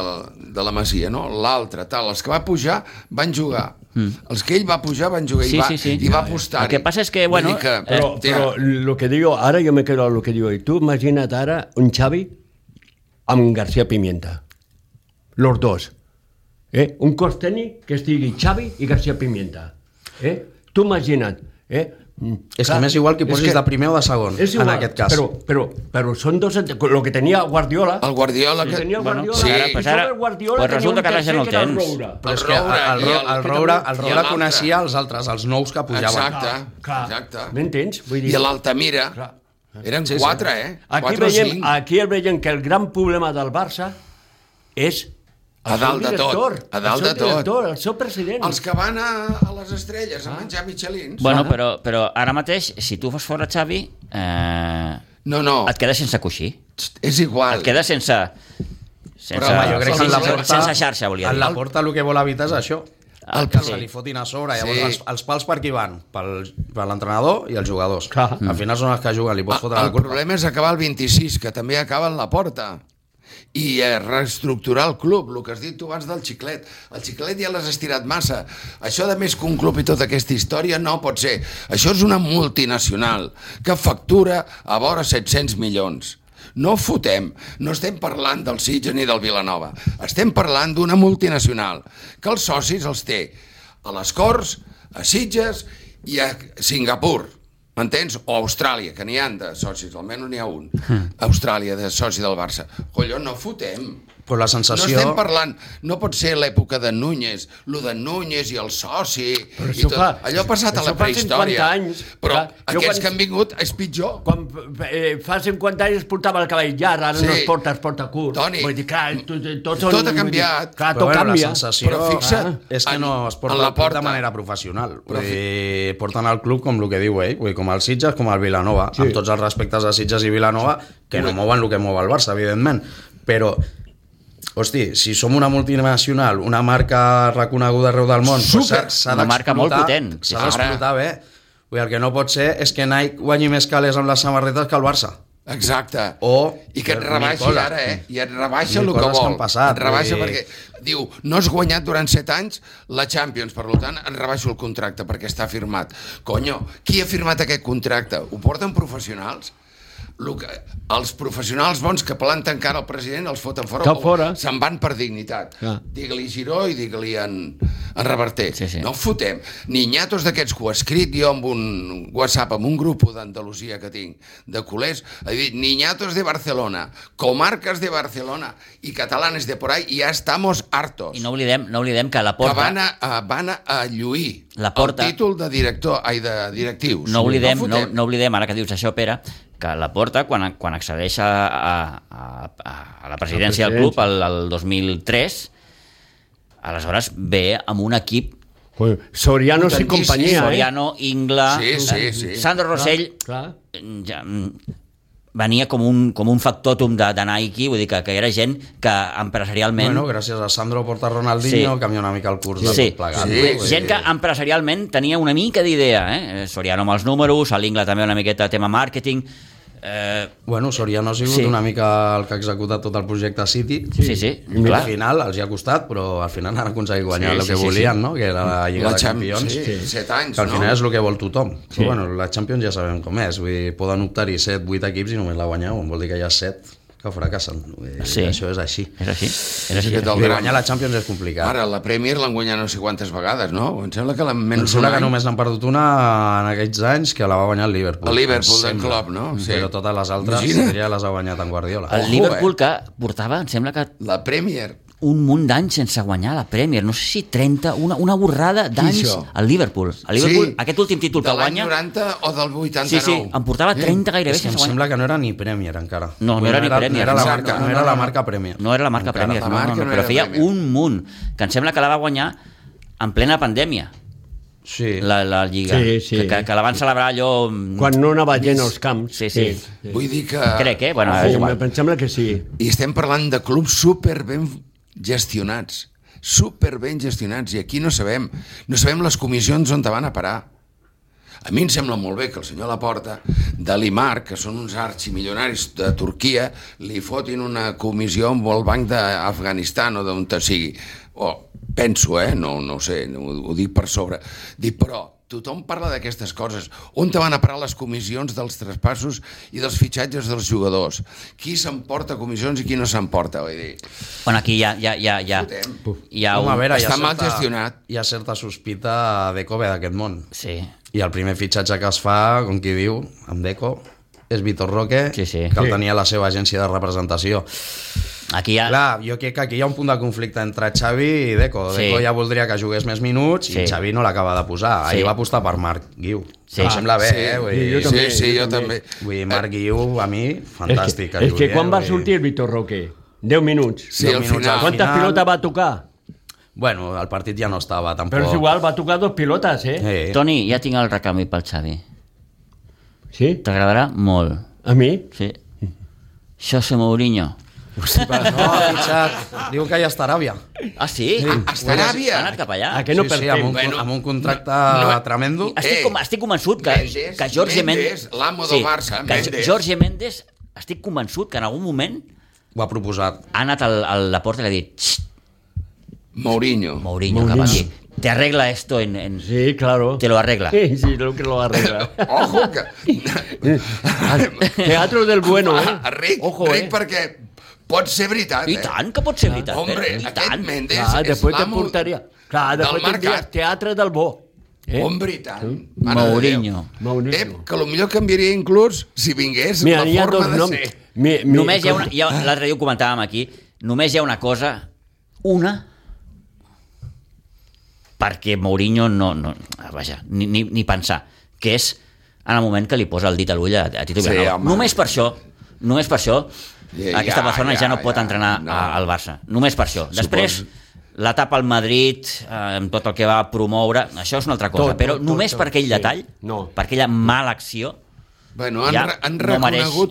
Speaker 2: de la Masia, no? L'altre, tal. Els que va pujar van jugar. Mm. Els que ell va pujar van jugar
Speaker 1: Sí,
Speaker 2: i va,
Speaker 1: sí, sí.
Speaker 2: i va apostar.
Speaker 1: El que passa és que, bueno, eh,
Speaker 4: Però, però lo que digo, ara jo me quedo a lo que digo. I tu imagina't ara un Xavi amb García Pimienta. Los dos. Eh? Un cos tècnic que estigui Xavi i García Pimienta. Eh? Tu imagina't. Eh? Mm,
Speaker 3: És que
Speaker 4: clar,
Speaker 3: m'és igual que
Speaker 4: és
Speaker 3: posis de primer o de segon,
Speaker 4: és igual,
Speaker 3: en aquest cas.
Speaker 4: Però, però, però són dos... Lo que tenia Guardiola...
Speaker 2: El Guardiola...
Speaker 4: Que tenia el
Speaker 1: Bueno,
Speaker 4: Guardiola,
Speaker 2: sí.
Speaker 4: i
Speaker 2: Ara,
Speaker 4: sobre
Speaker 1: pues ara-
Speaker 4: el Guardiola
Speaker 1: pues
Speaker 4: tenia
Speaker 1: resulta
Speaker 4: un
Speaker 1: que ara ja
Speaker 4: tercer
Speaker 1: no el
Speaker 4: que era el
Speaker 1: tens.
Speaker 4: Roura.
Speaker 3: Però és
Speaker 2: El
Speaker 3: que el,
Speaker 2: Roure
Speaker 3: el,
Speaker 2: i
Speaker 3: el,
Speaker 2: el-
Speaker 3: el Roure, el
Speaker 2: i
Speaker 3: Roure
Speaker 2: l'altre.
Speaker 3: coneixia els altres, els nous que pujaven.
Speaker 2: Exacte,
Speaker 4: Clar,
Speaker 2: exacte.
Speaker 4: M'entens? Vull dir...
Speaker 2: I a l'Altamira...
Speaker 4: Clar.
Speaker 2: Eren
Speaker 3: Sí, sí.
Speaker 2: quatre, eh?
Speaker 4: Aquí
Speaker 2: quatre o
Speaker 4: veiem, Ah,
Speaker 2: cinc.
Speaker 4: aquí el veiem que el gran problema del Barça és el
Speaker 2: A dalt
Speaker 4: seu
Speaker 2: de tot,
Speaker 4: director,
Speaker 2: a dalt
Speaker 4: el seu
Speaker 2: de tot.
Speaker 4: director, el seu president.
Speaker 2: Els que van a, a les estrelles a menjar mitjolins.
Speaker 1: Ah. Bueno, però, però ara mateix, si tu fas fora Xavi, eh,
Speaker 2: No, no,
Speaker 1: et quedes sense coixí.
Speaker 2: és igual.
Speaker 1: Et quedes sense... sense
Speaker 2: Però, home, jo crec que en la
Speaker 1: sense-
Speaker 2: porta-
Speaker 1: Sense xarxa, volia
Speaker 3: en
Speaker 1: dir.
Speaker 3: la porta el que vol evitar és això.
Speaker 1: El
Speaker 3: El que
Speaker 1: Ah, sí.
Speaker 3: se li fotin a sobre. Llavors,
Speaker 2: Sí.
Speaker 3: els, els pals per qui van? Pel, per l'entrenador i els jugadors.
Speaker 4: Clar.
Speaker 3: Al final són els que juguen, li
Speaker 2: Ah,
Speaker 3: pots fotre la
Speaker 2: el
Speaker 3: culpa.
Speaker 2: problema és acabar el 26, que també acaba en la porta i eh, reestructurar el club, el que has dit tu abans del xiclet. El xiclet ja l'has estirat massa. Això de més que un club i tota aquesta història no pot ser. Això és una multinacional que factura a vora 700 milions. No fotem, no estem parlant del Sitges ni del Vilanova. Estem parlant d'una multinacional que els socis els té a les Corts, a Sitges i a Singapur. M'entens? O Austràlia, que n'hi han de socis, almenys n'hi ha un.
Speaker 4: Hmm.
Speaker 2: Austràlia, de soci del Barça. Collons, no fotem.
Speaker 3: Però la
Speaker 2: No
Speaker 3: sensació...
Speaker 2: estem parlant... No pot ser l'època de Núñez, lo de Núñez i el soci...
Speaker 4: Però
Speaker 2: i
Speaker 4: això
Speaker 2: tot.
Speaker 4: fa-
Speaker 2: Allò ha passat
Speaker 4: això
Speaker 2: a la
Speaker 4: fa
Speaker 2: prehistòria.
Speaker 4: 50 anys.
Speaker 2: Però
Speaker 4: Clar, jo
Speaker 2: aquests
Speaker 4: quan-
Speaker 2: que han vingut és pitjor.
Speaker 4: Quan eh, fa 50 anys es portava el cabell llarg, ara
Speaker 2: Sí.
Speaker 4: no es porta, es porta curt.
Speaker 2: Toni,
Speaker 4: vull dir, clar, tot, eh, tot,
Speaker 2: tot
Speaker 4: són-
Speaker 2: ha
Speaker 4: vull dir,
Speaker 2: canviat.
Speaker 4: Clar,
Speaker 3: Però
Speaker 4: tot
Speaker 3: bueno,
Speaker 4: canvia.
Speaker 3: la sensació
Speaker 2: Però fixa't,
Speaker 3: ah, és que
Speaker 2: en-
Speaker 3: no es
Speaker 2: en
Speaker 3: porta
Speaker 2: la
Speaker 3: la porta
Speaker 2: porta.
Speaker 3: de manera professional.
Speaker 2: Però
Speaker 3: Però vull dir, porten al club com el que diu ell, vull dir, com el Sitges, com el Vilanova, sí. amb tots els respectes a Sitges i Vilanova, que no mouen el que mou el Barça, evidentment. Però, hosti, si som una multinacional, una marca reconeguda arreu del món, doncs s'ha- s'ha
Speaker 1: Una marca molt
Speaker 3: d'explotar-
Speaker 1: potent. Sí,
Speaker 3: S'ha
Speaker 1: sí.
Speaker 3: d'explotar bé. Vull dir, el que no pot ser és que Nike guanyi més calés amb les samarretes que el Barça.
Speaker 2: Exacte.
Speaker 3: O-
Speaker 2: I que et
Speaker 3: mil
Speaker 2: rebaixi
Speaker 3: coses.
Speaker 2: ara, eh? I et rebaixa
Speaker 3: Mil
Speaker 2: el que
Speaker 3: coses que
Speaker 2: vol.
Speaker 3: han passat,
Speaker 2: et rebaixa
Speaker 3: vull dir-
Speaker 2: perquè... Diu, no has guanyat durant 7 anys la Champions, per lo tant, et rebaixo el contracte perquè està firmat. Conyo, qui ha firmat aquest contracte? Ho porten professionals? Lo que, els professionals bons que planten cara al president els foten fora,
Speaker 4: Cap
Speaker 2: o
Speaker 4: fora.
Speaker 2: se'n van per dignitat.
Speaker 4: Clar.
Speaker 2: Digue-li Giró i digue-li en, en Reverter.
Speaker 1: Sí, sí.
Speaker 2: No el fotem. Ni nyatos d'aquests que ho he escrit jo amb un WhatsApp, amb un grup d'Andalusia que tinc, de culers, he dit, niñatos de Barcelona, comarques de Barcelona i catalanes de por ahí, i ja estamos hartos.
Speaker 1: I no oblidem, no oblidem que la
Speaker 2: que
Speaker 1: porta...
Speaker 2: van a, a, van a lluir
Speaker 1: La porta-
Speaker 2: el títol de director, ai, de directius.
Speaker 1: no oblidem, no, no,
Speaker 2: fotem.
Speaker 1: oblidem, ara que dius això, Pere, que la porta, quan, quan accedeix a, a, a, a la presidència del club el, el 2003, aleshores ve amb un equip
Speaker 4: Pues, Soriano i
Speaker 2: Tantíssim,
Speaker 4: companyia, eh?
Speaker 1: Soriano, Ingla,
Speaker 2: Sí, sí, sí.
Speaker 1: Sandro Rossell,
Speaker 4: Clar.
Speaker 1: ja, mm, venia com un, com un factòtum de, de Nike, vull dir que, que era gent que empresarialment...
Speaker 3: Bueno, gràcies a Sandro Porta Ronaldinho,
Speaker 1: Sí.
Speaker 3: sí. canvia una mica el curs de
Speaker 1: Sí,
Speaker 3: tot plegat.
Speaker 2: Sí,
Speaker 3: vull dir.
Speaker 1: gent que empresarialment tenia una mica d'idea, eh? Soriano amb els números, a l'Ingla també una miqueta tema màrqueting, eh,
Speaker 3: Bueno, Soriano ha sigut
Speaker 1: Sí.
Speaker 3: sí. una mica el que ha executat tot el projecte City.
Speaker 1: Sí, sí, sí,
Speaker 3: I
Speaker 1: clar.
Speaker 3: al final els hi ha costat, però al final han aconseguit guanyar
Speaker 1: Sí,
Speaker 3: sí, el
Speaker 1: sí,
Speaker 3: que
Speaker 1: sí,
Speaker 3: volien, no? que era la Lliga
Speaker 2: la
Speaker 3: de
Speaker 2: Champions,
Speaker 3: Campions.
Speaker 2: sí, 7 anys,
Speaker 3: Que al final
Speaker 2: no?
Speaker 3: és el que vol tothom. Sí. Però, bueno, la Champions ja sabem com és. Vull dir, poden optar-hi 7, 8 equips i només la guanyeu. Vol dir que hi ha 7 que fracassen. Vull dir,
Speaker 1: Sí.
Speaker 3: Això és així.
Speaker 1: és així, és així.
Speaker 2: Sí, aquest
Speaker 3: Vull
Speaker 2: el
Speaker 3: dir,
Speaker 2: gran.
Speaker 3: guanyar la Champions és complicat.
Speaker 2: Ara, la Premier l'han guanyat no sé quantes vegades, no? Em sembla que l'han
Speaker 3: Em
Speaker 2: menys un
Speaker 3: sembla que
Speaker 2: any.
Speaker 3: només n'han perdut una en aquests anys que la va guanyar el Liverpool.
Speaker 2: El Liverpool
Speaker 3: Em
Speaker 2: del
Speaker 3: sembla.
Speaker 2: Klopp, no? Sí.
Speaker 3: Sí. Però totes les altres
Speaker 2: Imagina.
Speaker 3: ja les ha guanyat en Guardiola.
Speaker 1: El
Speaker 2: Ojo, eh?
Speaker 1: Liverpool que portava, em sembla que
Speaker 2: La Premier.
Speaker 1: un munt d'anys sense guanyar la Premier, no sé si 30, una, una borrada d'anys
Speaker 2: això?
Speaker 1: al Liverpool. El Liverpool,
Speaker 2: Sí.
Speaker 1: aquest últim títol que
Speaker 2: de l'any
Speaker 1: guanya,
Speaker 2: 90 o del Eh? 89.
Speaker 1: sí, sí, en portava 30 gairebé
Speaker 3: És que em
Speaker 1: sense guanyar.
Speaker 3: sembla que no era ni Premier encara.
Speaker 1: No, no
Speaker 3: Vull dir,
Speaker 1: era ni Premier,
Speaker 3: No era, la
Speaker 2: exacte.
Speaker 3: marca, no era la marca Premier.
Speaker 1: No era la marca
Speaker 3: Encara.
Speaker 1: Premier,
Speaker 2: la
Speaker 1: no, no,
Speaker 2: marca
Speaker 1: no,
Speaker 2: no
Speaker 1: però
Speaker 2: era
Speaker 1: feia
Speaker 2: Premier.
Speaker 1: un munt, que em sembla que la va guanyar en plena pandèmia,
Speaker 3: Sí.
Speaker 1: la, la Lliga,
Speaker 4: Sí, sí.
Speaker 1: Que, que, que la van celebrar allò... mm,
Speaker 4: Quan no anava gent als camps.
Speaker 1: Sí, sí.
Speaker 2: Vull dir que...
Speaker 1: Crec, eh? Bueno, és
Speaker 4: Ah, Sí,
Speaker 1: igual.
Speaker 4: em sembla que sí.
Speaker 2: I estem parlant de clubs super ben gestionats, super ben gestionats, i aquí no sabem, no sabem les comissions on te van a parar. A mi em sembla molt bé que el senyor Laporta, de l'IMAR, que són uns arximilionaris de Turquia, li fotin una comissió amb el banc d'Afganistan o d'on te sigui. O, penso, eh? No, no ho sé, no, ho, ho dic per sobre. Dic, però, tothom parla d'aquestes coses. On te van a parar les comissions dels traspassos i dels fitxatges dels jugadors? Qui s'emporta comissions i qui no s'emporta? Vull dir,
Speaker 1: Bueno, aquí ja, ja, ja, ja,
Speaker 2: Fotem.
Speaker 1: ja
Speaker 3: Home, a
Speaker 1: un...
Speaker 3: veure, hi ha
Speaker 2: Està mal
Speaker 3: certa-
Speaker 2: gestionat.
Speaker 3: Hi ha certa sospita de Kobe d'aquest món.
Speaker 1: Sí,
Speaker 3: I el primer fitxatge que es fa, com qui diu, amb Deco, és Vitor Roque,
Speaker 1: Sí, sí.
Speaker 3: que el tenia la seva agència de representació.
Speaker 1: aquí ja...
Speaker 3: Clar, jo crec que aquí hi ha un punt de conflicte entre Xavi i Deco.
Speaker 1: Sí.
Speaker 3: Sí. Deco ja voldria que jugués més minuts
Speaker 1: Sí.
Speaker 3: i Xavi no l'acaba de posar.
Speaker 1: Sí.
Speaker 3: Sí. Ahir va apostar per Marc Guiu.
Speaker 1: Sí.
Speaker 3: Sí. Em sembla bé,
Speaker 2: sí,
Speaker 3: eh? Vull
Speaker 4: jo
Speaker 2: sí,
Speaker 3: dir,
Speaker 4: també,
Speaker 2: sí,
Speaker 4: jo
Speaker 2: jo també.
Speaker 3: vull dir Marc Guiu, a mi,
Speaker 4: és
Speaker 3: fantàstic.
Speaker 4: que, és
Speaker 3: jugui,
Speaker 4: que
Speaker 3: eh?
Speaker 4: quan va
Speaker 3: Vull dir-
Speaker 4: sortir el Vitor Roque? 10 minuts.
Speaker 2: Sí,
Speaker 3: Deu
Speaker 2: al
Speaker 3: minuts
Speaker 2: final.
Speaker 3: al
Speaker 4: Quantes
Speaker 3: final-
Speaker 4: pilotes va tocar?
Speaker 3: Bueno, el partit ja no estava, tampoc.
Speaker 1: Oh.
Speaker 4: Però és igual, va tocar dos pilotes, eh?
Speaker 3: Eh, eh.
Speaker 1: Toni, ja tinc el recanvi pel Xavi.
Speaker 4: Sí?
Speaker 1: T'agradarà molt.
Speaker 4: A mi?
Speaker 1: Sí. José Mourinho.
Speaker 3: No, ha fitxat. Diu que ja està a Aràbia.
Speaker 1: Ah, sí?
Speaker 3: Sí.
Speaker 1: Ah,
Speaker 2: Hasta
Speaker 1: Ha
Speaker 2: Aràbia!
Speaker 1: anat cap allà.
Speaker 4: Ah, que no
Speaker 3: sí, sí,
Speaker 4: perdem.
Speaker 3: amb un,
Speaker 2: Bueno,
Speaker 3: amb un contracte
Speaker 2: no-
Speaker 3: tremendo. eh,
Speaker 1: Estic,
Speaker 2: Ei,
Speaker 1: com, estic convençut que,
Speaker 2: Eh. Mendes,
Speaker 1: que Jorge Mendes...
Speaker 2: Mendes, l'amo del Barça,
Speaker 1: que
Speaker 2: Mendes.
Speaker 1: Jorge Mendes, estic convençut que en algun moment
Speaker 3: Ho ha proposat.
Speaker 1: ha anat al, al la porta i li ha dit "Xt,
Speaker 2: Mourinho.
Speaker 1: Mourinho, cap aquí. Te arregla esto en... en...
Speaker 4: Sí, claro.
Speaker 1: Te lo arregla.
Speaker 4: Sí, sí, lo que lo arregla.
Speaker 2: Ojo, que...
Speaker 4: Teatro del bueno, eh?
Speaker 2: Ah, Ric,
Speaker 4: Ojo,
Speaker 2: Ric
Speaker 4: eh?
Speaker 2: perquè pot ser veritat,
Speaker 1: I
Speaker 2: eh?
Speaker 1: tant que pot ser veritat.
Speaker 2: Hombre,
Speaker 1: Pere, i
Speaker 2: aquest
Speaker 1: tant.
Speaker 2: Mendes
Speaker 4: Clar,
Speaker 2: és
Speaker 4: després te
Speaker 2: l'amo
Speaker 4: portaria... Clar,
Speaker 2: del
Speaker 4: després tindries
Speaker 2: mercat.
Speaker 4: teatre del bo. Eh?
Speaker 2: Hombre, i tant.
Speaker 1: Mourinho.
Speaker 4: Mourinho.
Speaker 2: Eh, que potser canviaria inclús si vingués
Speaker 4: Mira, hi
Speaker 2: la
Speaker 4: ha dos
Speaker 2: forma de
Speaker 4: noms.
Speaker 2: ser.
Speaker 4: Mi, mi,
Speaker 1: Només hi ha una... hi
Speaker 2: Ah.
Speaker 1: ha- L'altre dia ho comentàvem aquí. Només hi ha una cosa... Una perquè Mourinho no... no vaja, ni, ni, ni pensar. Que és en el moment que li posa el dit a l'ull a, a Tito
Speaker 2: Sí,
Speaker 1: Vilanova.
Speaker 2: home.
Speaker 1: només per això, només per això,
Speaker 2: Ja,
Speaker 1: aquesta
Speaker 2: ja,
Speaker 1: persona ja,
Speaker 2: ja,
Speaker 1: no pot
Speaker 2: ja,
Speaker 1: entrenar
Speaker 2: no.
Speaker 1: a, al Barça. Només per això. Després, l'etapa al Madrid, eh, amb tot el que va promoure, això és una altra cosa.
Speaker 4: Tot,
Speaker 1: però
Speaker 4: tot, tot,
Speaker 1: només
Speaker 4: tot,
Speaker 1: per aquell
Speaker 4: sí.
Speaker 1: detall,
Speaker 4: No.
Speaker 1: per aquella mala acció,
Speaker 2: Bueno, han,
Speaker 1: Ja,
Speaker 2: ja, han
Speaker 1: no
Speaker 2: reconegut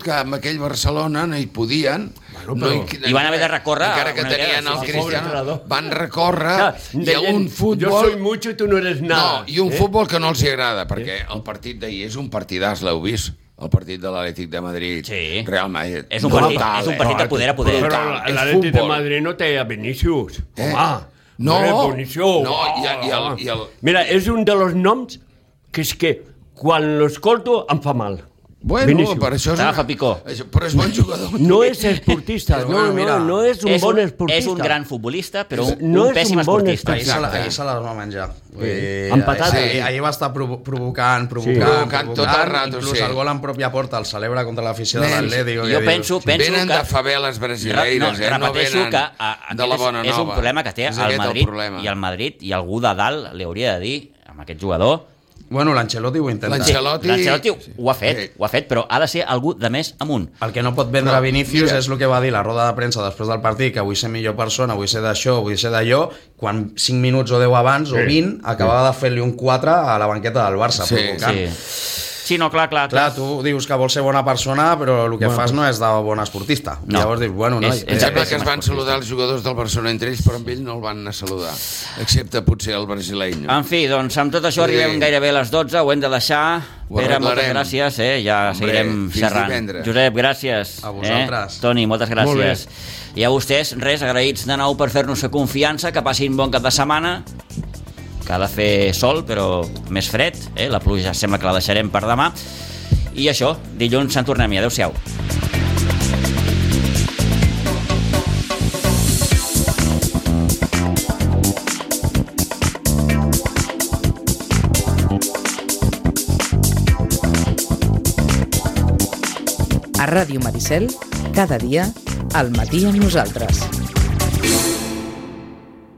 Speaker 1: mereix.
Speaker 2: que amb aquell Barcelona no hi podien. Bueno,
Speaker 4: però-
Speaker 1: I van haver de recórrer
Speaker 2: Encara que
Speaker 1: una mica,
Speaker 2: tenien
Speaker 1: sí, sí,
Speaker 2: el
Speaker 1: sí,
Speaker 2: Cristiano,
Speaker 4: entrenador.
Speaker 2: van recórrer
Speaker 4: Clar,
Speaker 2: i a
Speaker 4: deien,
Speaker 2: un
Speaker 4: Jo
Speaker 2: futbol...
Speaker 4: soy mucho y tú no eres nada.
Speaker 2: No, i un eh? futbol que no els hi agrada, perquè el partit d'ahir és un partidàs, l'heu vist? El partit de l'Atlètic de Madrid,
Speaker 1: Sí.
Speaker 2: Real Madrid. eh?
Speaker 1: És un partit- és un partit de poder a poder.
Speaker 4: Però
Speaker 2: brutal, és
Speaker 4: l'Atlètic de
Speaker 2: futbol.
Speaker 4: Madrid no té a Vinícius. Eh? Home,
Speaker 2: No.
Speaker 4: hombre, Vinícius.
Speaker 2: No, i el- i el- i el-
Speaker 4: Mira, és un de los noms que és que quan l'escolto em fa mal.
Speaker 2: Bueno,
Speaker 4: Vinícius.
Speaker 2: per això és...
Speaker 1: T'agafa picó.
Speaker 2: Això- Però és bon jugador.
Speaker 4: No és esportista, no,
Speaker 3: Bueno,
Speaker 4: no,
Speaker 3: mira,
Speaker 4: no és un
Speaker 1: és
Speaker 4: bon
Speaker 1: un,
Speaker 4: esportista.
Speaker 1: És un gran futbolista, però un,
Speaker 4: No
Speaker 1: no
Speaker 4: és
Speaker 1: un pèssim
Speaker 4: un bon
Speaker 1: esportista.
Speaker 3: Ahir se, la,
Speaker 2: Exacte.
Speaker 3: ahir se la va menjar. Vull dir,
Speaker 4: Empatat.
Speaker 3: ahir-
Speaker 2: Sí.
Speaker 3: ahir va estar provo provocant, provocant,
Speaker 2: Provocant tot el rato,
Speaker 3: Inclús
Speaker 2: sí.
Speaker 3: el gol en pròpia porta el celebra contra l'afició de
Speaker 2: Nens,
Speaker 3: l'Atlético. que
Speaker 1: jo
Speaker 3: dius,
Speaker 1: penso, penso
Speaker 2: venen
Speaker 1: que...
Speaker 2: de faveles brasileiras, eh? no
Speaker 1: repeteixo
Speaker 2: venen
Speaker 1: que a,
Speaker 2: de la
Speaker 1: aquest
Speaker 2: bona
Speaker 1: és, és
Speaker 2: nova.
Speaker 1: un problema que té
Speaker 2: És
Speaker 1: el
Speaker 2: aquest
Speaker 1: Madrid,
Speaker 2: problema.
Speaker 1: i el Madrid i algú de dalt li hauria de dir amb aquest jugador
Speaker 3: Bueno, l'Ancelotti ho intenta.
Speaker 2: L'Ancelotti- Ancelotti-
Speaker 1: L'Ancelotti ho ha fet,
Speaker 2: Sí.
Speaker 1: ho ha fet, però ha de ser algú de més amunt.
Speaker 3: El que no pot vendre
Speaker 2: Però,
Speaker 3: Vinícius
Speaker 2: mira.
Speaker 3: és el que va dir la roda de premsa després del partit, que vull ser millor persona, vull ser d'això, vull ser d'allò, quan 5 minuts o 10 abans
Speaker 4: Sí.
Speaker 3: o 20 acabava de fer-li un 4 a la banqueta del Barça,
Speaker 2: Sí,
Speaker 3: provocant.
Speaker 1: Sí. sí, no, clar, clar.
Speaker 3: Clar, tu dius que vols ser bona persona, però el que bueno, fas no és de bon esportista.
Speaker 1: No.
Speaker 3: No. Llavors dius, bueno, eh, no,
Speaker 1: És-
Speaker 2: Em
Speaker 1: és-
Speaker 2: sembla
Speaker 1: Exacte,
Speaker 2: que es
Speaker 1: és
Speaker 2: van
Speaker 1: esportista.
Speaker 2: saludar els jugadors del Barcelona entre ells, però amb ell no el van anar a saludar, excepte potser el brasileño.
Speaker 1: En fi, doncs amb tot això
Speaker 2: Sí.
Speaker 1: arribem gairebé a les 12, ho hem de deixar.
Speaker 2: Ho
Speaker 1: Pere, moltes
Speaker 2: arreglarem.
Speaker 1: gràcies, eh? ja
Speaker 2: Hombre,
Speaker 1: seguirem
Speaker 2: fins
Speaker 1: xerrant.
Speaker 2: divendres.
Speaker 1: Josep, gràcies.
Speaker 3: A vosaltres.
Speaker 1: Eh? Toni, moltes gràcies. I a vostès, res, agraïts de nou per fer-nos confiança, que passin bon cap de setmana, que ha de fer sol, però més fred, eh? la pluja sembla que la deixarem per demà. I això, dilluns en tornem-hi. Adéu-siau.
Speaker 5: A Ràdio Maricel, cada dia, al matí amb nosaltres.